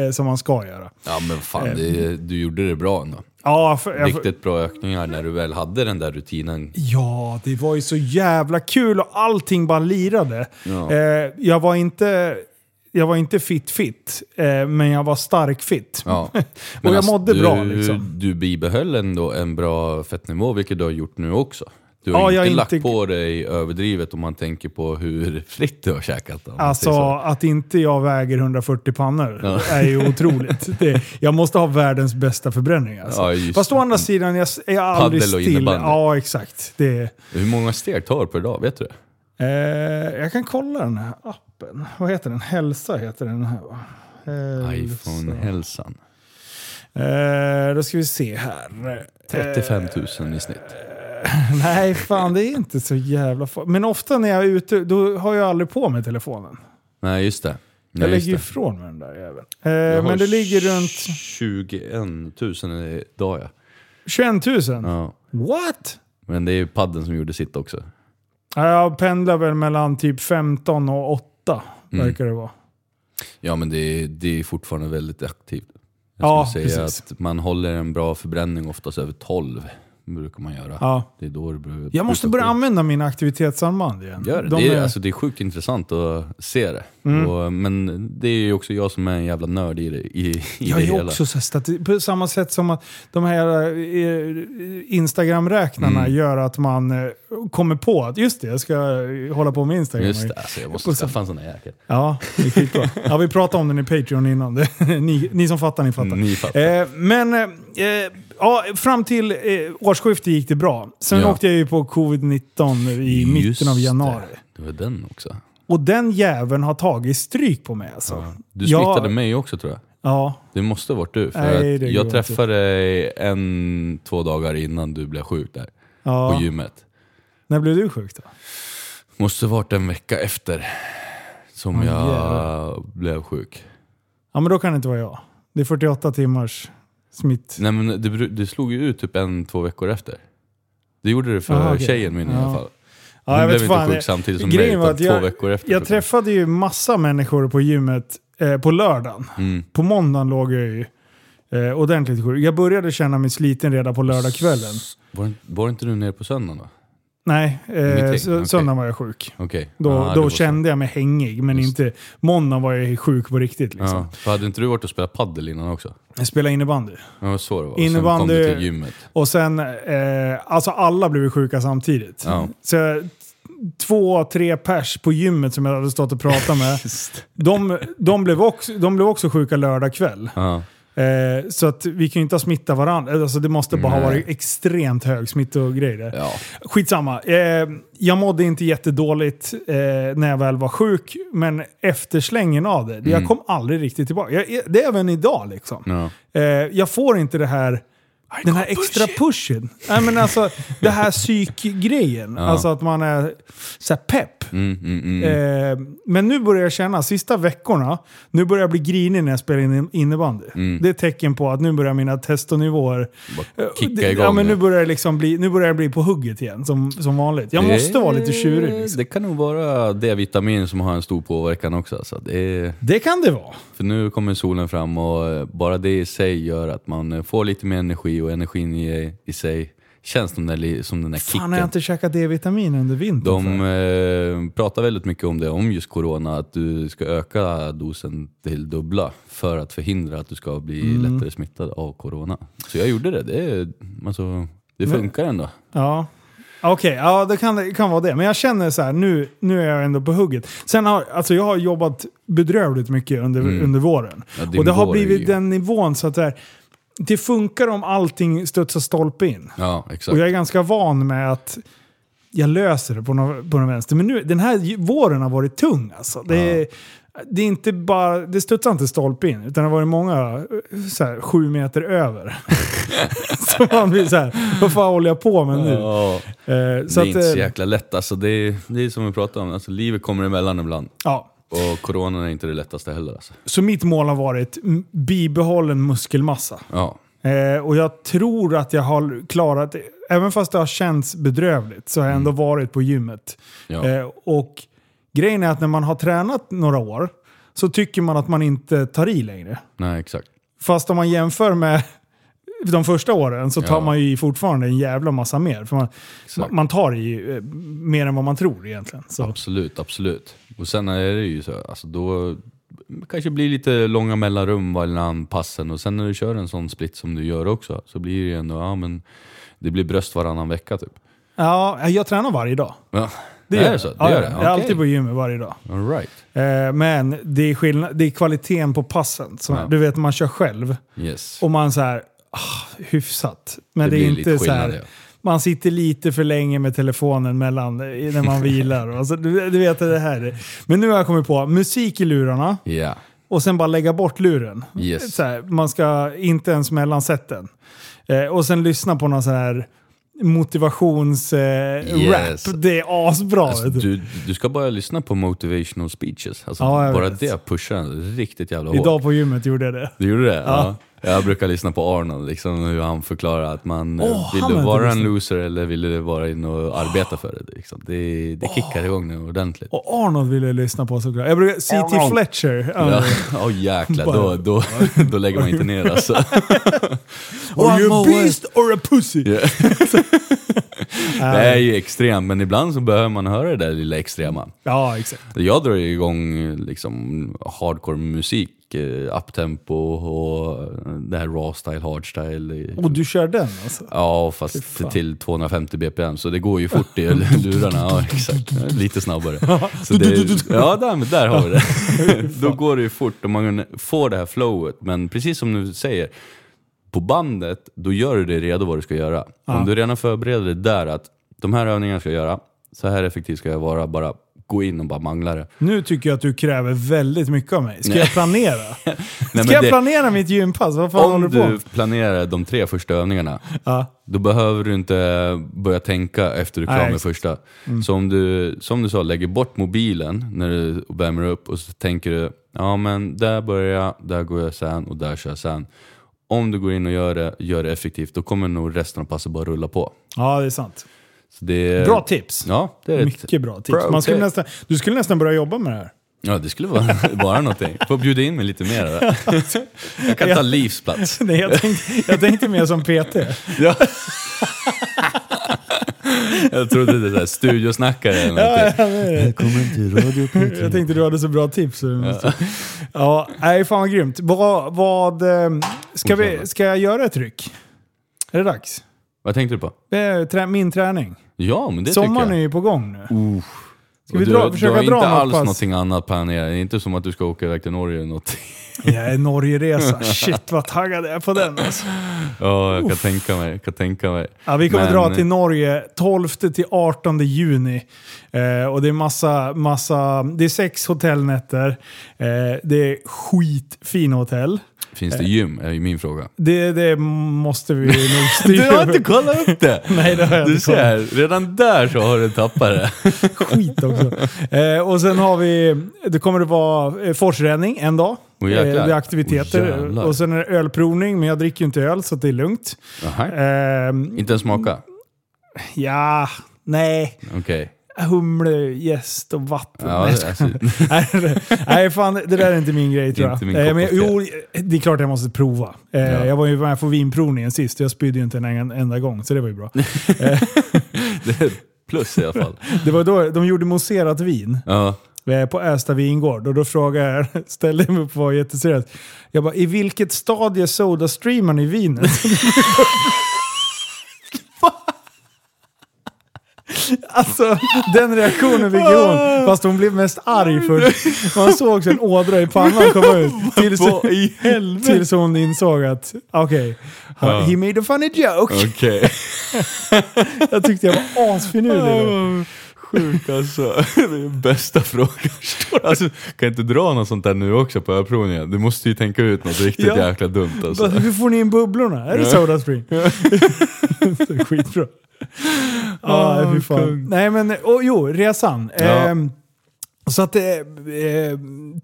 Speaker 1: eh, som man ska göra.
Speaker 2: Ja men fan, det, du gjorde det bra ändå.
Speaker 1: Ja, för, Eh, jag, för,
Speaker 2: Riktigt bra ökningar när du väl hade den där rutinen.
Speaker 1: ja, det var ju så jävla kul och allting bara lirade.
Speaker 2: Ja.
Speaker 1: Eh, jag var inte... Jag var inte fit-fit, eh, men jag var stark-fit.
Speaker 2: Ja.
Speaker 1: jag
Speaker 2: alltså,
Speaker 1: mådde
Speaker 2: du,
Speaker 1: bra, liksom.
Speaker 2: Du bibehöll ändå en bra fettnivå, vilket du har gjort nu också. Du
Speaker 1: Ja,
Speaker 2: har
Speaker 1: jag
Speaker 2: inte
Speaker 1: är
Speaker 2: lagt
Speaker 1: inte-
Speaker 2: på dig överdrivet om man tänker på hur fritt du har käkat. om man
Speaker 1: Alltså
Speaker 2: säger så.
Speaker 1: att inte jag väger 140 pannor är ju otroligt. Det, jag måste ha världens bästa förbränning alltså.
Speaker 2: Ja, just
Speaker 1: Fast å
Speaker 2: det.
Speaker 1: andra sidan, jag s- är aldrig
Speaker 2: Paddel och
Speaker 1: still.
Speaker 2: innebandy.
Speaker 1: Ja, exakt. Det,
Speaker 2: Hur många steg tar du per dag? Vet du det?
Speaker 1: eh, jag kan kolla den här appen. Vad heter den? Hälsa heter den här va? Hälsa.
Speaker 2: iPhone-hälsan.
Speaker 1: Eh, då ska vi se här. Eh,
Speaker 2: 35 000 i snitt.
Speaker 1: Nej, fan det är inte så jävla fa- Men ofta när jag är ute, då har jag aldrig på mig telefonen.
Speaker 2: Nej, just det. Nej,
Speaker 1: Jag
Speaker 2: just
Speaker 1: lägger ju
Speaker 2: det.
Speaker 1: ifrån mig den där jäveln.
Speaker 2: Jag
Speaker 1: Eh,
Speaker 2: har
Speaker 1: men det ligger runt
Speaker 2: 21 000 idag ja.
Speaker 1: 21 000.
Speaker 2: ja.
Speaker 1: What?
Speaker 2: Men det är ju padden som gjorde sitt också.
Speaker 1: Ja, Jag pendlar väl mellan typ 15 och 8,
Speaker 2: Mm.
Speaker 1: verkar det vara.
Speaker 2: Ja men det är, det är fortfarande väldigt aktivt. Jag
Speaker 1: Ja,
Speaker 2: skulle säga
Speaker 1: precis.
Speaker 2: att man håller en bra förbränning oftast över 12. Brukar man göra.
Speaker 1: Ja.
Speaker 2: Det är då det bru-
Speaker 1: Jag måste
Speaker 2: brukar
Speaker 1: börja
Speaker 2: ske.
Speaker 1: använda mina aktivitetsarmband igen.
Speaker 2: Gör det.
Speaker 1: De Mm.
Speaker 2: det, är,
Speaker 1: är-
Speaker 2: Alltså, det är sjukt intressant att se det. Och, men det är ju också jag som är en jävla nörd i det, i, i
Speaker 1: jag
Speaker 2: det
Speaker 1: är
Speaker 2: hela.
Speaker 1: också så här stati- på samma sätt som att de här eh, Instagram-räknarna
Speaker 2: Mm.
Speaker 1: gör att man eh, kommer på att just det, jag ska eh, hålla på med Instagram.
Speaker 2: Just det, alltså, jag måste
Speaker 1: På
Speaker 2: skaffa en sån här jäkel.
Speaker 1: Ja, det är skitbra. ja, vi pratade om den i Patreon innan. Det- ni, ni som fattar, ni fattar.
Speaker 2: Ni fattar.
Speaker 1: Eh, men eh, eh, ja, fram till eh, årsskiftet gick det bra. Sen
Speaker 2: Ja.
Speaker 1: åkte jag ju på covid-19 i
Speaker 2: Just
Speaker 1: mitten av januari.
Speaker 2: Det, det var den också.
Speaker 1: Och den jäveln har tagit stryk på mig alltså.
Speaker 2: Du
Speaker 1: Jag-
Speaker 2: smittade mig också tror jag.
Speaker 1: Ja,
Speaker 2: Det måste varit du. För
Speaker 1: Nej,
Speaker 2: att
Speaker 1: det går
Speaker 2: jag
Speaker 1: inte.
Speaker 2: träffade dig en, två dagar innan du blev sjuk där
Speaker 1: ja.
Speaker 2: på gymmet.
Speaker 1: När blev du sjuk då?
Speaker 2: Måste varit en vecka efter som
Speaker 1: Åh,
Speaker 2: jag
Speaker 1: jävlar.
Speaker 2: blev sjuk.
Speaker 1: Ja, men då kan det inte vara jag. Det är 48 timmars smitt...
Speaker 2: Nej men det, bru- det slog ju ut typ en, två veckor efter. Det gjorde det för
Speaker 1: Jaha, Ah, okej.
Speaker 2: tjejen min i
Speaker 1: Ja.
Speaker 2: alla fall. Hon
Speaker 1: Ja, jag
Speaker 2: blev
Speaker 1: vet
Speaker 2: inte
Speaker 1: fan.
Speaker 2: sjuk samtidigt som mig
Speaker 1: grejen var
Speaker 2: utan
Speaker 1: att
Speaker 2: två
Speaker 1: jag-
Speaker 2: veckor efter.
Speaker 1: Jag träffade ju massa människor på gymmet eh, på lördagen.
Speaker 2: Mm.
Speaker 1: På måndagen låg jag ju eh, ordentligt sjuk. Jag började känna mig sliten redan på lördagskvällen.
Speaker 2: Var, inte- var inte du nere på söndagen då?
Speaker 1: Nej, eh,
Speaker 2: Ingenting,
Speaker 1: så,
Speaker 2: okej.
Speaker 1: söndagen var jag sjuk.
Speaker 2: Okej.
Speaker 1: Då,
Speaker 2: Ja, det
Speaker 1: då
Speaker 2: var så.
Speaker 1: kände jag mig hängig, men
Speaker 2: Just.
Speaker 1: inte... Måndagen var jag sjuk på riktigt. Liksom.
Speaker 2: Ja, för hade inte du varit och spelat paddel innan också?
Speaker 1: Jag spelade innebandy.
Speaker 2: Ja, det var så det var.
Speaker 1: Innebandy-
Speaker 2: Och sen kom du till gymmet.
Speaker 1: Och sen, eh, alltså alla blev sjuka samtidigt.
Speaker 2: Ja.
Speaker 1: Så jag- två, tre pers på gymmet som jag hade stått och pratat med. de, de, blev också, de blev också sjuka lördag kväll.
Speaker 2: Ja.
Speaker 1: Eh, så att vi kan ju inte ha smittat varandra. Alltså det måste bara ha
Speaker 2: Nej.
Speaker 1: varit extremt hög smittogrej där.
Speaker 2: Ja.
Speaker 1: Skitsamma. Eh, jag mådde inte jättedåligt eh, när jag väl var sjuk, men efter slängen av det,
Speaker 2: Mm.
Speaker 1: jag kom aldrig riktigt tillbaka. Jag, jag- det är även idag liksom.
Speaker 2: Ja.
Speaker 1: Eh, jag får inte det här... Den här extra pushen. Nej, men alltså, det här psykgrejen.
Speaker 2: Ja.
Speaker 1: Alltså att man är så här pepp.
Speaker 2: Mm, mm, mm.
Speaker 1: Eh, men nu börjar jag känna, sista veckorna, nu börjar jag bli grinig när jag spelar in innebandy.
Speaker 2: Mm.
Speaker 1: Det är ett tecken på att nu börjar mina testonivåer...
Speaker 2: Bara
Speaker 1: Eh,
Speaker 2: kicka
Speaker 1: det-
Speaker 2: igång.
Speaker 1: Ja, men nu börjar jag, liksom bli, nu börjar jag bli på hugget igen, som, som vanligt. Jag
Speaker 2: Det-
Speaker 1: måste vara lite tjurig. Liksom.
Speaker 2: Det kan nog vara D-vitamin som har en stor påverkan också. Alltså. Det är,
Speaker 1: Det kan det vara.
Speaker 2: för nu kommer solen fram och eh, bara det i sig gör att man eh, får lite mer energi och energin i, i sig känns som den, där, som den där
Speaker 1: Fan, har jag
Speaker 2: kicken.
Speaker 1: inte käkat D-vitamin under vintern?
Speaker 2: De eh, pratar väldigt mycket om det, om just corona, att du ska öka dosen till dubbla för att förhindra att du ska bli
Speaker 1: Mm.
Speaker 2: lättare smittad av corona. Så jag gjorde det. Det, är- alltså, det funkar ändå.
Speaker 1: Ja. Okej, ja det kan, det kan vara det. Men jag känner så här, nu, nu är jag ändå på hugget. Sen har, alltså jag har jobbat bedrövligt mycket under,
Speaker 2: Mm.
Speaker 1: under våren.
Speaker 2: Ja, din
Speaker 1: och det har
Speaker 2: vår är
Speaker 1: blivit
Speaker 2: ju-
Speaker 1: den nivån så att det, här, det funkar om allting studsar stolpe in.
Speaker 2: Ja, exakt.
Speaker 1: Och jag är ganska van med att jag löser det på någon, på någon vänster. Men nu, den här ju- våren har varit tung alltså. Det, är- det är inte bara, det studsar inte stolpe in, utan det har varit många eh, så här, sju meter över. så man blir så här, vad fan håller jag på med nu?
Speaker 2: Ja.
Speaker 1: Eh, så
Speaker 2: det är
Speaker 1: att,
Speaker 2: inte så
Speaker 1: eh,
Speaker 2: jäkla lätt. Alltså, det, är, det är som vi pratade om, alltså, livet kommer emellan ibland.
Speaker 1: ja.
Speaker 2: Och coronan är inte det lättaste heller. Alltså.
Speaker 1: Så mitt mål har varit m- bibehållen muskelmassa.
Speaker 2: Ja.
Speaker 1: Eh, och jag tror att jag har klarat det. Även fast det har känts bedrövligt så har jag ändå varit på gymmet.
Speaker 2: Mm. Ja.
Speaker 1: Eh, och grejen är att när man har tränat några år så tycker man att man inte tar i längre.
Speaker 2: Nej, exakt.
Speaker 1: Fast om man jämför med de första åren så tar
Speaker 2: Ja.
Speaker 1: man ju i fortfarande en jävla massa mer. För man,
Speaker 2: Exakt.
Speaker 1: man tar i eh, mer än vad man tror egentligen. Så.
Speaker 2: Absolut, absolut. Och sen är det ju så, alltså, då kanske blir lite långa mellanrum mellan passen och sen när du kör en sån split som du gör också så blir det ju ändå, ja men det blir bröst varannan vecka typ.
Speaker 1: Ja, jag tränar varje dag.
Speaker 2: Ja.
Speaker 1: Det
Speaker 2: är
Speaker 1: jag.
Speaker 2: det så? Det
Speaker 1: ja,
Speaker 2: gör
Speaker 1: ja.
Speaker 2: det?
Speaker 1: Jag är alltid på
Speaker 2: Okej.
Speaker 1: gymmet varje dag.
Speaker 2: All right.
Speaker 1: Eh, men det är, skillnad, det är kvaliteten på passen. Som,
Speaker 2: Ja.
Speaker 1: Du vet, man kör själv
Speaker 2: Yes.
Speaker 1: och man så här, ah, hyfsat. Men det,
Speaker 2: blir
Speaker 1: är
Speaker 2: lite
Speaker 1: inte så här,
Speaker 2: skillnad, ja.
Speaker 1: man sitter lite för länge med telefonen mellan, i- när man vilar. Alltså, du, du vet det här. Men nu har jag kommit på, musik i lurarna
Speaker 2: Ja.
Speaker 1: och sen bara lägga bort luren.
Speaker 2: Yes.
Speaker 1: Så här, man ska inte ens mellansätta den. Eh, och sen lyssna på någon sån här motivationsrap. Eh,
Speaker 2: Yes.
Speaker 1: rap. Det är asbra.
Speaker 2: Alltså,
Speaker 1: vet du.
Speaker 2: du, du ska bara lyssna på motivational speeches. Alltså,
Speaker 1: Ja, jag
Speaker 2: bara
Speaker 1: vet.
Speaker 2: det pushar en riktigt jävla hårt.
Speaker 1: Idag på gymmet gjorde jag det.
Speaker 2: Du gjorde det? Ja. Jag brukar lyssna på Arnold, liksom, hur han förklarar att man eh,
Speaker 1: Åh, han
Speaker 2: vill
Speaker 1: har
Speaker 2: du
Speaker 1: inte
Speaker 2: vara en
Speaker 1: lyssnat.
Speaker 2: loser eller vill du vara in och arbeta för det. Liksom. Det, det kickar igång nu ordentligt.
Speaker 1: Och Arnold ville jag lyssna på såklart. Jag brukar... C.T.
Speaker 2: Arnold.
Speaker 1: Fletcher.
Speaker 2: Ja, oh, jäklar, då, då, då lägger man inte ner alltså.
Speaker 1: Are you a
Speaker 2: One more.
Speaker 1: beast or a pussy?
Speaker 2: Ja. Det är ju extremt, men ibland så behöver man höra det där lilla extrema.
Speaker 1: Ja, exakt.
Speaker 2: Jag drar ju igång eh, liksom, hardcore musik, eh, uptempo och eh, det här raw style, hardstyle. eh,
Speaker 1: Och du kör den alltså?
Speaker 2: Ja, fast till 250 bpm, så det går ju fort i lurarna. Ja, exakt. Lite snabbare. Så det, ja, där, men där har vi det. Då går det ju fort och man får det här flowet. Men precis som du säger, på bandet, då gör du dig redo vad du ska göra. Om du redan förbereder dig där att de här övningarna ska jag göra, så här effektiv ska jag vara, bara gå in och bara mangla det.
Speaker 1: Nu tycker jag att du kräver väldigt mycket av mig. Ska jag planera? Ska
Speaker 2: Nej,
Speaker 1: jag
Speaker 2: det-
Speaker 1: planera mitt gympass? Vad fan håller
Speaker 2: om
Speaker 1: du på
Speaker 2: du
Speaker 1: med?
Speaker 2: planerar de tre första övningarna,
Speaker 1: Ja.
Speaker 2: då behöver du inte börja tänka efter du är klar
Speaker 1: Nej,
Speaker 2: med
Speaker 1: exakt. Mm.
Speaker 2: första. Så om du, som du sa, lägger bort mobilen när du värmer upp och så tänker du, ja men där börjar jag, där går jag sen och där kör jag sen. Om du går in och gör det, gör det effektivt, då kommer nog resten av passet bara rulla på.
Speaker 1: ja, det är sant.
Speaker 2: Så det är,
Speaker 1: Bra tips.
Speaker 2: Eh, Ja, det är ett,
Speaker 1: Mycket bra tips. Man skulle
Speaker 2: Pro-tip.
Speaker 1: nästan, du skulle nästan börja jobba med det här.
Speaker 2: Ja, det skulle vara, vara någonting. Får bjuda in mig lite mer. va? Jag kan ta Livs plats.
Speaker 1: Nej, jag, tänkte, jag tänkte mer som PT.
Speaker 2: Ja. Jag trodde det där studiosnackare eller någonting.
Speaker 3: Välkommen till Radio P3.
Speaker 2: Mm.
Speaker 1: Jag tänkte du hade så bra tips. så du måste- Ja, nej, fan vad grymt. Vad, vad, ehm, ska, vi, ska jag göra ett ryck? Är det dags?
Speaker 2: Vad tänkte du på?
Speaker 1: Det är trä, min träning.
Speaker 2: Ja, men det
Speaker 1: Sommaren är
Speaker 2: tycker jag.
Speaker 1: ju på gång nu.
Speaker 2: Uh.
Speaker 1: Ska vi
Speaker 2: du,
Speaker 1: dra,
Speaker 2: har-
Speaker 1: försöka
Speaker 2: du har
Speaker 1: dra
Speaker 2: inte
Speaker 1: något
Speaker 2: alls
Speaker 1: pass?
Speaker 2: någonting annat planerat. Det är inte som att du ska åka iväg till Norge eller något.
Speaker 1: Jag är Norgeresa. Shit vad taggad jag är på den. Alltså.
Speaker 2: Ja, jag kan tänka mig. Jag kan tänka mig.
Speaker 1: Ja, vi kommer
Speaker 2: Men-
Speaker 1: dra till Norge 12 till 18 juni. Eh, och det är massa, massa, det är sex hotellnätter. Eh, det är skitfina hotell.
Speaker 2: eh, Finns det gym? Är ju min fråga.
Speaker 1: Det, det måste vi nog
Speaker 2: Du
Speaker 1: styra
Speaker 2: har inte
Speaker 1: upp.
Speaker 2: kollat upp det!
Speaker 1: Nej, det har jag
Speaker 2: Du
Speaker 1: inte kollat.
Speaker 2: ser, redan där så har du tappat det.
Speaker 1: Skit också. Eh, och sen har vi, det kommer det vara eh, forsränning en dag. Eh,
Speaker 2: Åh, jäklar.
Speaker 1: det är aktiviteter.
Speaker 2: Åh, jävlar.
Speaker 1: och sen är det ölprovning, men jag dricker ju inte öl så det är lugnt.
Speaker 2: Aha.
Speaker 1: Ehm,
Speaker 2: Inte ens smaka?
Speaker 1: ja, nej.
Speaker 2: Okej.
Speaker 1: Humle, jäst och vatten.
Speaker 2: Ja,
Speaker 1: Nej,
Speaker 2: alltså,
Speaker 1: Nej, Nej, fan det där är inte min grej tror jag.
Speaker 2: Inte min
Speaker 1: Eh,
Speaker 2: kopp
Speaker 1: men,
Speaker 2: av te.
Speaker 1: jo, det är klart jag måste prova. Eh,
Speaker 2: Ja.
Speaker 1: Jag var ju med på vinprovningen sist och jag spydde ju inte en en- enda gång, så det var ju bra.
Speaker 2: det är ett plus i alla fall.
Speaker 1: det var då de gjorde mousserat vin
Speaker 2: Ja.
Speaker 1: eh, på Ästa vingård och då frågade jag, ställde jag mig upp och var jätteseriös. Jag bara, i vilket stadie sodastreamar ni vinet? Alltså den reaktionen fick ju hon. Fast hon blev mest arg först. Man såg sen ådra i pannan komma ut. Tills,
Speaker 2: Vad i helvete?
Speaker 1: tills hon insåg att, okej, han- he made a funny joke.
Speaker 2: Okej.
Speaker 1: Jag tyckte jag var asfinurlig.
Speaker 2: Sjuk alltså. Det är bästa frågan. Alltså, kan inte dra något sånt där nu också på ölprovningen? Du måste ju tänka ut något riktigt
Speaker 1: Ja.
Speaker 2: jäkla dumt
Speaker 1: Bara,
Speaker 2: alltså.
Speaker 1: Hur får ni in bubblorna? Är det Sodastream? Skitbra. Ja, fy fan. Nej men, och, jo, resan.
Speaker 2: Ah, Ja.
Speaker 1: Ehm, så att eh, eh,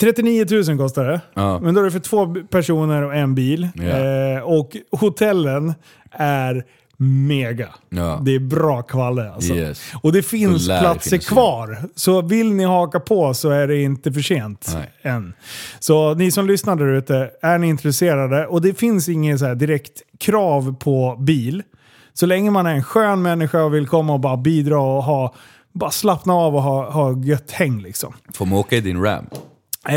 Speaker 1: 39 000 kostar det.
Speaker 2: Ja.
Speaker 1: Men då är det för två personer och en bil.
Speaker 2: Ja.
Speaker 1: Eh, och hotellen är mega.
Speaker 2: Ja.
Speaker 1: Det är bra kvalle alltså.
Speaker 2: Yes.
Speaker 1: Och det finns
Speaker 2: Då lär det
Speaker 1: platser
Speaker 2: finnas
Speaker 1: kvar. Så vill ni haka på så är det inte för sent
Speaker 2: Nej.
Speaker 1: än. Så ni som lyssnar där ute, är ni intresserade? Och det finns ingen så här direkt krav på bil. Så länge man är en skön människa och vill komma och bara bidra och ha, bara slappna av och ha, ha gött häng liksom.
Speaker 2: Får man åka i din ram?
Speaker 1: Eh,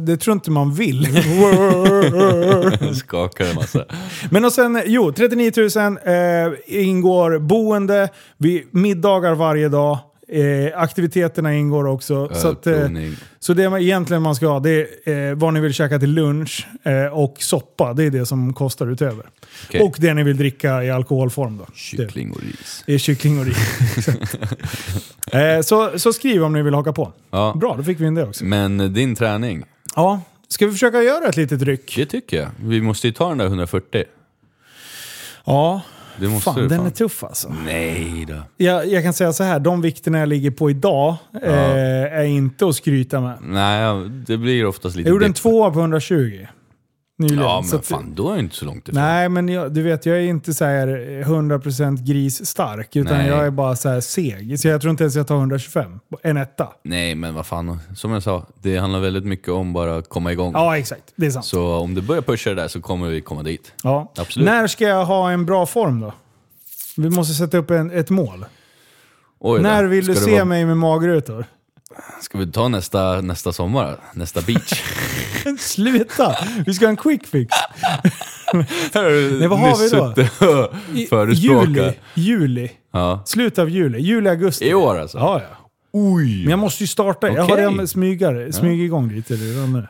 Speaker 1: det tror inte man vill.
Speaker 2: Skakar en massa.
Speaker 1: Men och sen, jo, 39 000 eh, ingår boende, vi, middagar varje dag, eh, aktiviteterna ingår också. Så, att, eh,
Speaker 2: Ölprovning.
Speaker 1: så det man egentligen man ska ha, det är eh, vad ni vill käka till lunch eh, och soppa. Det är det som kostar utöver.
Speaker 2: Okej.
Speaker 1: Och det ni vill dricka i alkoholform då. Det-
Speaker 2: Kyckling och ris.
Speaker 1: Det är kyckling och ris. Exakt. eh, så, så skriv om ni vill haka på.
Speaker 2: Ja.
Speaker 1: Bra, då fick vi in det också.
Speaker 2: Men eh, din träning,
Speaker 1: Ja, ska vi försöka göra ett litet ryck?
Speaker 2: det tycker jag. Vi måste ju ta den där 140.
Speaker 1: Ja,
Speaker 2: Det måste
Speaker 1: fan
Speaker 2: du
Speaker 1: den
Speaker 2: fan.
Speaker 1: är tuff alltså.
Speaker 2: Nej då.
Speaker 1: Jag, jag kan säga så här, de vikterna jag ligger på idag eh, är inte att skryta med.
Speaker 2: Nej, det blir oftast lite
Speaker 1: Jag gjorde en
Speaker 2: dipp.
Speaker 1: tvåa på 120 nyligen.
Speaker 2: Ja,
Speaker 1: så
Speaker 2: men
Speaker 1: att-
Speaker 2: fan då är jag inte så långt ifrån.
Speaker 1: Nej, men jag, du vet, jag är inte så här 100% grisstark, utan
Speaker 2: Nej.
Speaker 1: jag är bara så här seg. Så jag tror inte ens jag tar 125. En etta.
Speaker 2: Nej, men vad fan. Som jag sa, det handlar väldigt mycket om bara att komma igång.
Speaker 1: Ja, exakt. Det är sant.
Speaker 2: Så om du börjar pusha det där så kommer vi komma dit.
Speaker 1: Ja.
Speaker 2: absolut.
Speaker 1: När ska jag ha en bra form då? Vi måste sätta upp en, ett mål.
Speaker 2: Oj då.
Speaker 1: När vill du
Speaker 2: Ska det
Speaker 1: se
Speaker 2: vara-
Speaker 1: mig med magrutor?
Speaker 2: Ska vi ta nästa, nästa sommar? Nästa beach?
Speaker 1: Sluta! Vi ska ha en quick fix.
Speaker 2: Nej,
Speaker 1: vad har vi då? I-
Speaker 2: Förespråkar.
Speaker 1: Juli. Juli.
Speaker 2: Ja.
Speaker 1: Slutet av juli. Juli, augusti.
Speaker 2: I år alltså?
Speaker 1: Ja, ja.
Speaker 2: Oj!
Speaker 1: Men jag måste ju starta. Jag har
Speaker 2: Okej.
Speaker 1: redan smygar, smyger igång lite redan nu.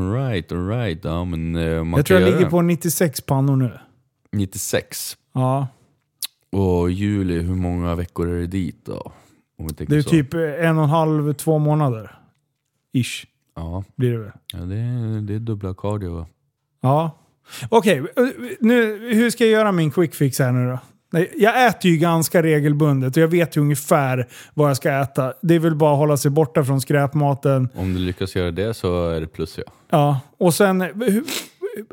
Speaker 2: Alright, alright. Ja, men eh, man
Speaker 1: Jag
Speaker 2: kan
Speaker 1: tror jag
Speaker 2: göra
Speaker 1: ligger
Speaker 2: det.
Speaker 1: på 96 pannor nu.
Speaker 2: 96.
Speaker 1: Ja.
Speaker 2: Och juli, hur många veckor är det dit då? Om vi tänker
Speaker 1: Det är
Speaker 2: så.
Speaker 1: typ en och en halv, två månader. Ish,
Speaker 2: Ja,
Speaker 1: blir det väl.
Speaker 2: ja det, är, det är dubbla cardio.
Speaker 1: Ja. Okej, nu, hur ska jag göra min quick fix här nu då? Nej, Jag äter ju ganska regelbundet och jag vet ju ungefär vad jag ska äta. Det är väl bara att hålla sig borta från skräpmaten.
Speaker 2: Om du lyckas göra det så är det plus ja.
Speaker 1: Ja, och sen... hur-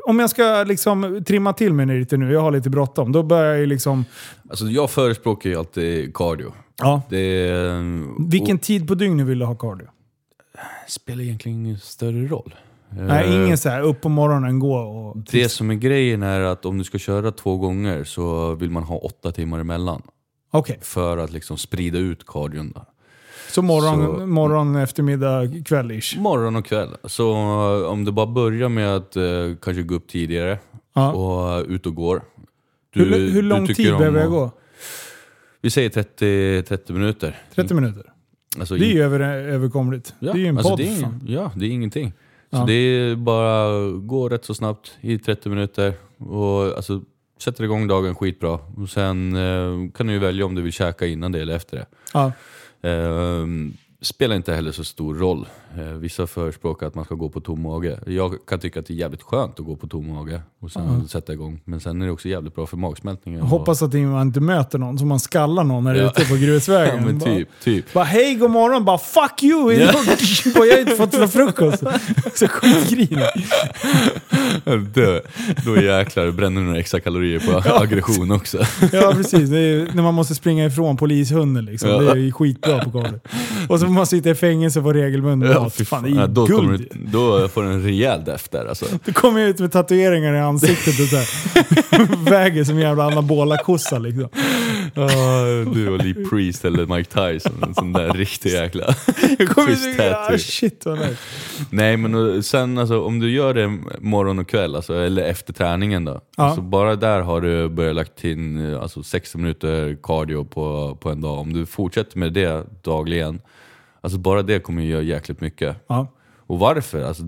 Speaker 1: Om jag ska liksom trimma till mig lite nu, jag har lite bråttom, då börjar jag ju liksom...
Speaker 2: Alltså jag förespråkar ju alltid cardio.
Speaker 1: Ja.
Speaker 2: Det eh,
Speaker 1: Vilken tid på dygnet vill du ha cardio?
Speaker 2: och spelar egentligen ingen större roll.
Speaker 1: Nej,
Speaker 2: Eh,
Speaker 1: ingen så här upp på morgonen, gå och...
Speaker 2: Det som är grejen är att om du ska köra två gånger så vill man ha åtta timmar emellan.
Speaker 1: Okej,
Speaker 2: För att liksom sprida ut cardion. Där.
Speaker 1: så morgon,
Speaker 2: Så-
Speaker 1: morgon eftermiddag, kväll-ish.
Speaker 2: Morgon och kväll. Så eh, om du bara börjar med att eh, kanske gå upp tidigare
Speaker 1: Ja.
Speaker 2: och eh, ut och går. Du-
Speaker 1: hur, hur
Speaker 2: du
Speaker 1: lång
Speaker 2: tycker
Speaker 1: tid
Speaker 2: om
Speaker 1: behöver jag
Speaker 2: att-
Speaker 1: gå?
Speaker 2: Vi säger 30, 30 minuter.
Speaker 1: 30 minuter?
Speaker 2: Alltså,
Speaker 1: Det är
Speaker 2: in-
Speaker 1: ju över, överkomligt.
Speaker 2: ja,
Speaker 1: det är ju en
Speaker 2: alltså,
Speaker 1: podd.
Speaker 2: det är,
Speaker 1: fan.
Speaker 2: Ja, det är ingenting. Så
Speaker 1: Ja.
Speaker 2: det är bara gå rätt så snabbt i 30 minuter. Och, alltså, sätter igång dagen skitbra. Och sen eh, kan du ju välja om du vill käka innan det eller efter det.
Speaker 1: Ja.
Speaker 2: Ehm, spelar inte heller så stor roll. Eh, vissa förespråkar att man ska gå på tom mage. Jag kan tycka att det är jävligt skönt att gå på tom mage och sen sätta igång. Men sen är det också jävligt bra för magsmältningen.
Speaker 1: Jag Hoppas att man inte möter någon, så man skallar någon när det är
Speaker 2: Ja.
Speaker 1: ute på
Speaker 2: och,
Speaker 1: grusvägen.
Speaker 2: ja, men
Speaker 1: Bara-
Speaker 2: typ, typ.
Speaker 1: Bara hej, god morgon, bara fuck you! Ja. jag har inte fått någon frukost. Så skitgrinig.
Speaker 2: Dö. Då jäklar bränner du några extra kalorier på aggression också.
Speaker 1: Ja precis, det är ju när man måste springa ifrån polishunden liksom.
Speaker 2: Ja.
Speaker 1: Det är ju skitbra på golvet. Och så får man sitta i fängelse på regelbunden mat.
Speaker 2: fy
Speaker 1: Fan, det är ju
Speaker 2: då, kommer
Speaker 1: guld.
Speaker 2: du, då får du en rejäl deff där alltså.
Speaker 1: Då kommer jag ut med tatueringar i ansiktet och så här. väger som en jävla anabola-kossa liksom.
Speaker 2: du och Lee Priest eller Mike Tyson, en sån där riktig jäkla...
Speaker 1: Jag kommer
Speaker 2: Schysst
Speaker 1: ut och ah,
Speaker 2: tattoo.
Speaker 1: shit vad nice.
Speaker 2: Nej men och sen alltså, om du gör det morgon och kväll, alltså, eller efter träningen då.
Speaker 1: Ja.
Speaker 2: Alltså, bara där har du börjat lagt in eh, alltså, 60 minuter cardio på, på en dag. Om du fortsätter med det dagligen, alltså, bara det kommer ju göra jäkligt mycket.
Speaker 1: Ja.
Speaker 2: Och varför? Alltså,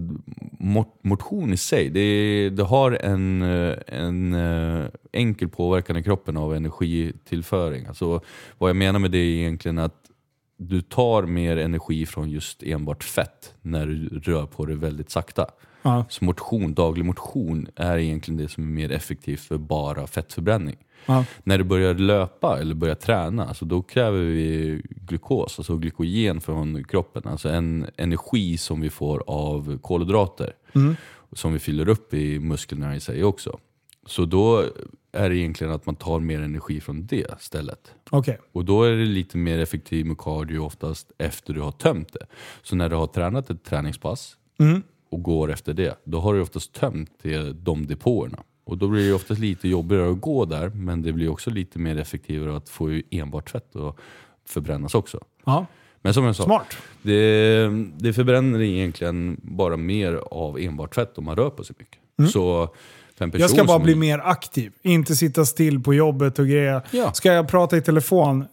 Speaker 2: mo- motion i sig, det, det har en, eh, en eh, enkel påverkan i kroppen av energitillföring. Alltså, vad jag menar med det är egentligen att du tar mer energi från just enbart fett när du rör på dig väldigt sakta.
Speaker 1: Ja.
Speaker 2: Så motion, daglig motion är egentligen det som är mer effektivt för bara fettförbränning.
Speaker 1: Ja.
Speaker 2: När du börjar löpa eller börjar träna, alltså då kräver vi glukos, alltså glykogen från kroppen. Alltså en energi som vi får av kolhydrater.
Speaker 1: Mm,
Speaker 2: Som vi fyller upp i musklerna i sig också. Så då är det egentligen att man tar mer energi från det stället.
Speaker 1: Okej.
Speaker 2: Och då är det lite mer effektivt med cardio oftast efter du har tömt det. Så när du har tränat ett träningspass
Speaker 1: Mm,
Speaker 2: och går efter det, då har du oftast tömt det, de depåerna. Och då blir det oftast lite jobbigare att gå där, men det blir också lite mer effektivare att få ju enbart fett att förbrännas också.
Speaker 1: Ja.
Speaker 2: Men som jag sa,
Speaker 1: Smart.
Speaker 2: det, det förbränner egentligen bara mer av enbart fett om man rör på sig mycket. Så för en person
Speaker 1: Mm. Jag ska bara
Speaker 2: som-
Speaker 1: bli mer aktiv. Inte sitta still på jobbet och grejer.
Speaker 2: Ja.
Speaker 1: Ska jag prata i telefon,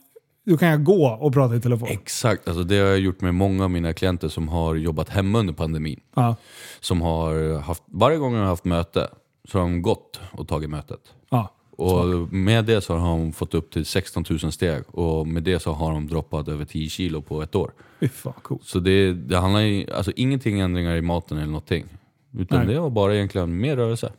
Speaker 1: då kan jag gå och prata i telefon.
Speaker 2: Exakt, alltså det har jag gjort med många av mina klienter som har jobbat hemma under pandemin.
Speaker 1: Ja.
Speaker 2: som har haft, varje gång hon har haft möte så har hon gått och tagit mötet.
Speaker 1: Ja.
Speaker 2: Och med det så har hon fått upp till 16 000 steg och med det så har hon droppat över 10 kilo på ett år.
Speaker 1: Fy fan, coolt.
Speaker 2: Så det, det handlar ju, alltså ingenting ändringar i maten eller någonting. Utan
Speaker 1: Nej.
Speaker 2: det var bara egentligen mer rörelse.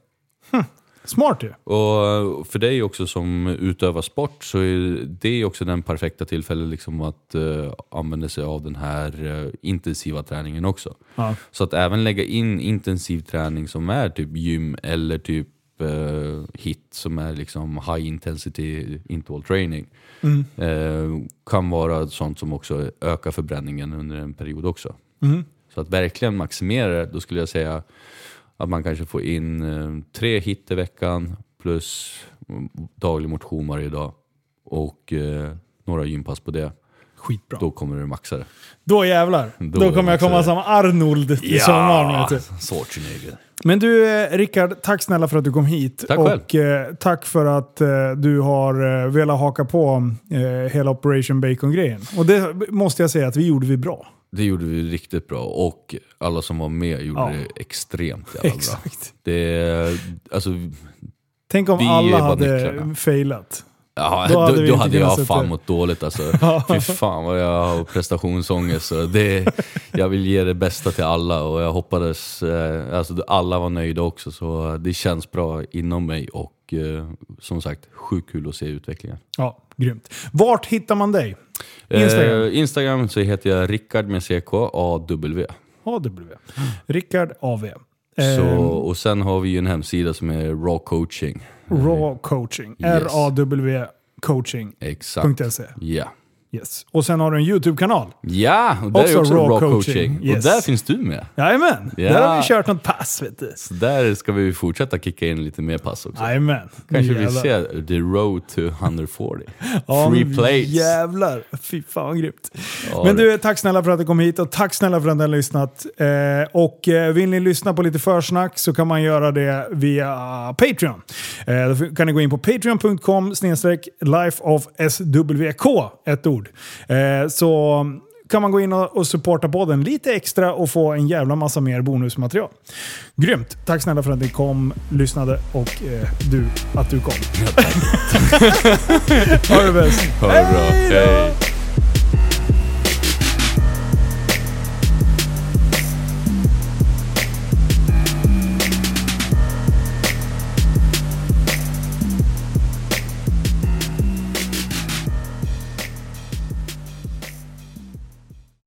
Speaker 1: Smart ju.
Speaker 2: Och för dig också som utövar sport så är det också den perfekta tillfället liksom att eh, använda sig av den här eh, intensiva träningen också.
Speaker 1: Ja.
Speaker 2: Så att även lägga in intensiv träning som är typ gym eller typ eh, hit som är liksom high intensity interval training
Speaker 1: Mm.
Speaker 2: eh, kan vara sånt som också ökar förbränningen under en period också.
Speaker 1: Mm.
Speaker 2: Så att verkligen maximera det, då skulle jag säga att man kanske får in eh, tre hit i veckan plus mm, daglig motion varje dag och eh, några gympass på det.
Speaker 1: Skitbra. Då,
Speaker 2: Då kommer du maxa det.
Speaker 1: jävlar. Då,
Speaker 2: Då
Speaker 1: kommer jag
Speaker 2: också
Speaker 1: komma
Speaker 2: det.
Speaker 1: som Arnold i sommar. vet du.
Speaker 2: Schwarzenegger.
Speaker 1: Men du, eh, Rickard, tack snälla för att du kom hit.
Speaker 2: Tack själv.
Speaker 1: och eh, tack för att eh, du har eh, velat haka på eh, hela Operation Bacon-grejen. Och det måste jag säga att vi gjorde vi bra.
Speaker 2: Det gjorde vi riktigt bra och alla som var med gjorde
Speaker 1: Ja.
Speaker 2: det extremt jävla bra.
Speaker 1: Exakt.
Speaker 2: Det, alltså,
Speaker 1: Tänk om
Speaker 2: Vi
Speaker 1: alla
Speaker 2: är bara
Speaker 1: hade
Speaker 2: nycklarna.
Speaker 1: failat.
Speaker 2: Ja,
Speaker 1: Då
Speaker 2: då
Speaker 1: hade
Speaker 2: hade,
Speaker 1: vi
Speaker 2: då,
Speaker 1: inte
Speaker 2: hade
Speaker 1: kunnat
Speaker 2: jag
Speaker 1: sitta här.
Speaker 2: fan mått dåligt alltså. Fy fan vad jag har prestationsångest. Så det, jag vill ge det bästa till alla och jag hoppades, eh, alltså alla var nöjda också så det känns bra inom mig och eh, som sagt, sjukt kul att se utvecklingen.
Speaker 1: Ja, grymt. Vart hittar man dig? Instagram.
Speaker 2: Eh, Instagram så heter jag Rickard med CK AW.
Speaker 1: AW. Rickard AW.
Speaker 2: Så,
Speaker 1: Eh,
Speaker 2: och sen har vi ju en hemsida som är Raw Coaching.
Speaker 1: Ehm, Raw coaching. R-A-W coaching.se.
Speaker 2: Exakt. Ja.
Speaker 1: E. Yes. Och sen har du en YouTube-kanal.
Speaker 2: Ja, och där
Speaker 1: Också
Speaker 2: är också
Speaker 1: Raw
Speaker 2: Raw,
Speaker 1: Coaching.
Speaker 2: Coaching.
Speaker 1: Yes.
Speaker 2: Och där finns du med.
Speaker 1: Jajamän!
Speaker 2: Ja.
Speaker 1: Där har vi kört något pass vet du.
Speaker 2: Så där ska vi fortsätta kicka in lite mer pass också.
Speaker 1: Jajamän.
Speaker 2: Kanske vi
Speaker 1: Jävlar.
Speaker 2: ser the road to 140.
Speaker 1: Ja,
Speaker 2: Free
Speaker 1: men
Speaker 2: plates.
Speaker 1: Jävlar. Fy fan vad grymt.
Speaker 2: Ja,
Speaker 1: Men
Speaker 2: det-
Speaker 1: du, tack snälla för att du kom hit och tack snälla för att ni har lyssnat. Eh, och eh, vill ni lyssna på lite försnack så kan man göra det via Patreon. Eh, då f- kan ni gå in på patreon.com snedstreck lifeofswk, ett ord. Eh, så kan man gå in och och supporta podden lite extra och få en jävla massa mer bonusmaterial. Grymt! Tack snälla för att ni kom, lyssnade och eh, du, att du kom. ha det bäst!
Speaker 2: Ha det bra. Hej!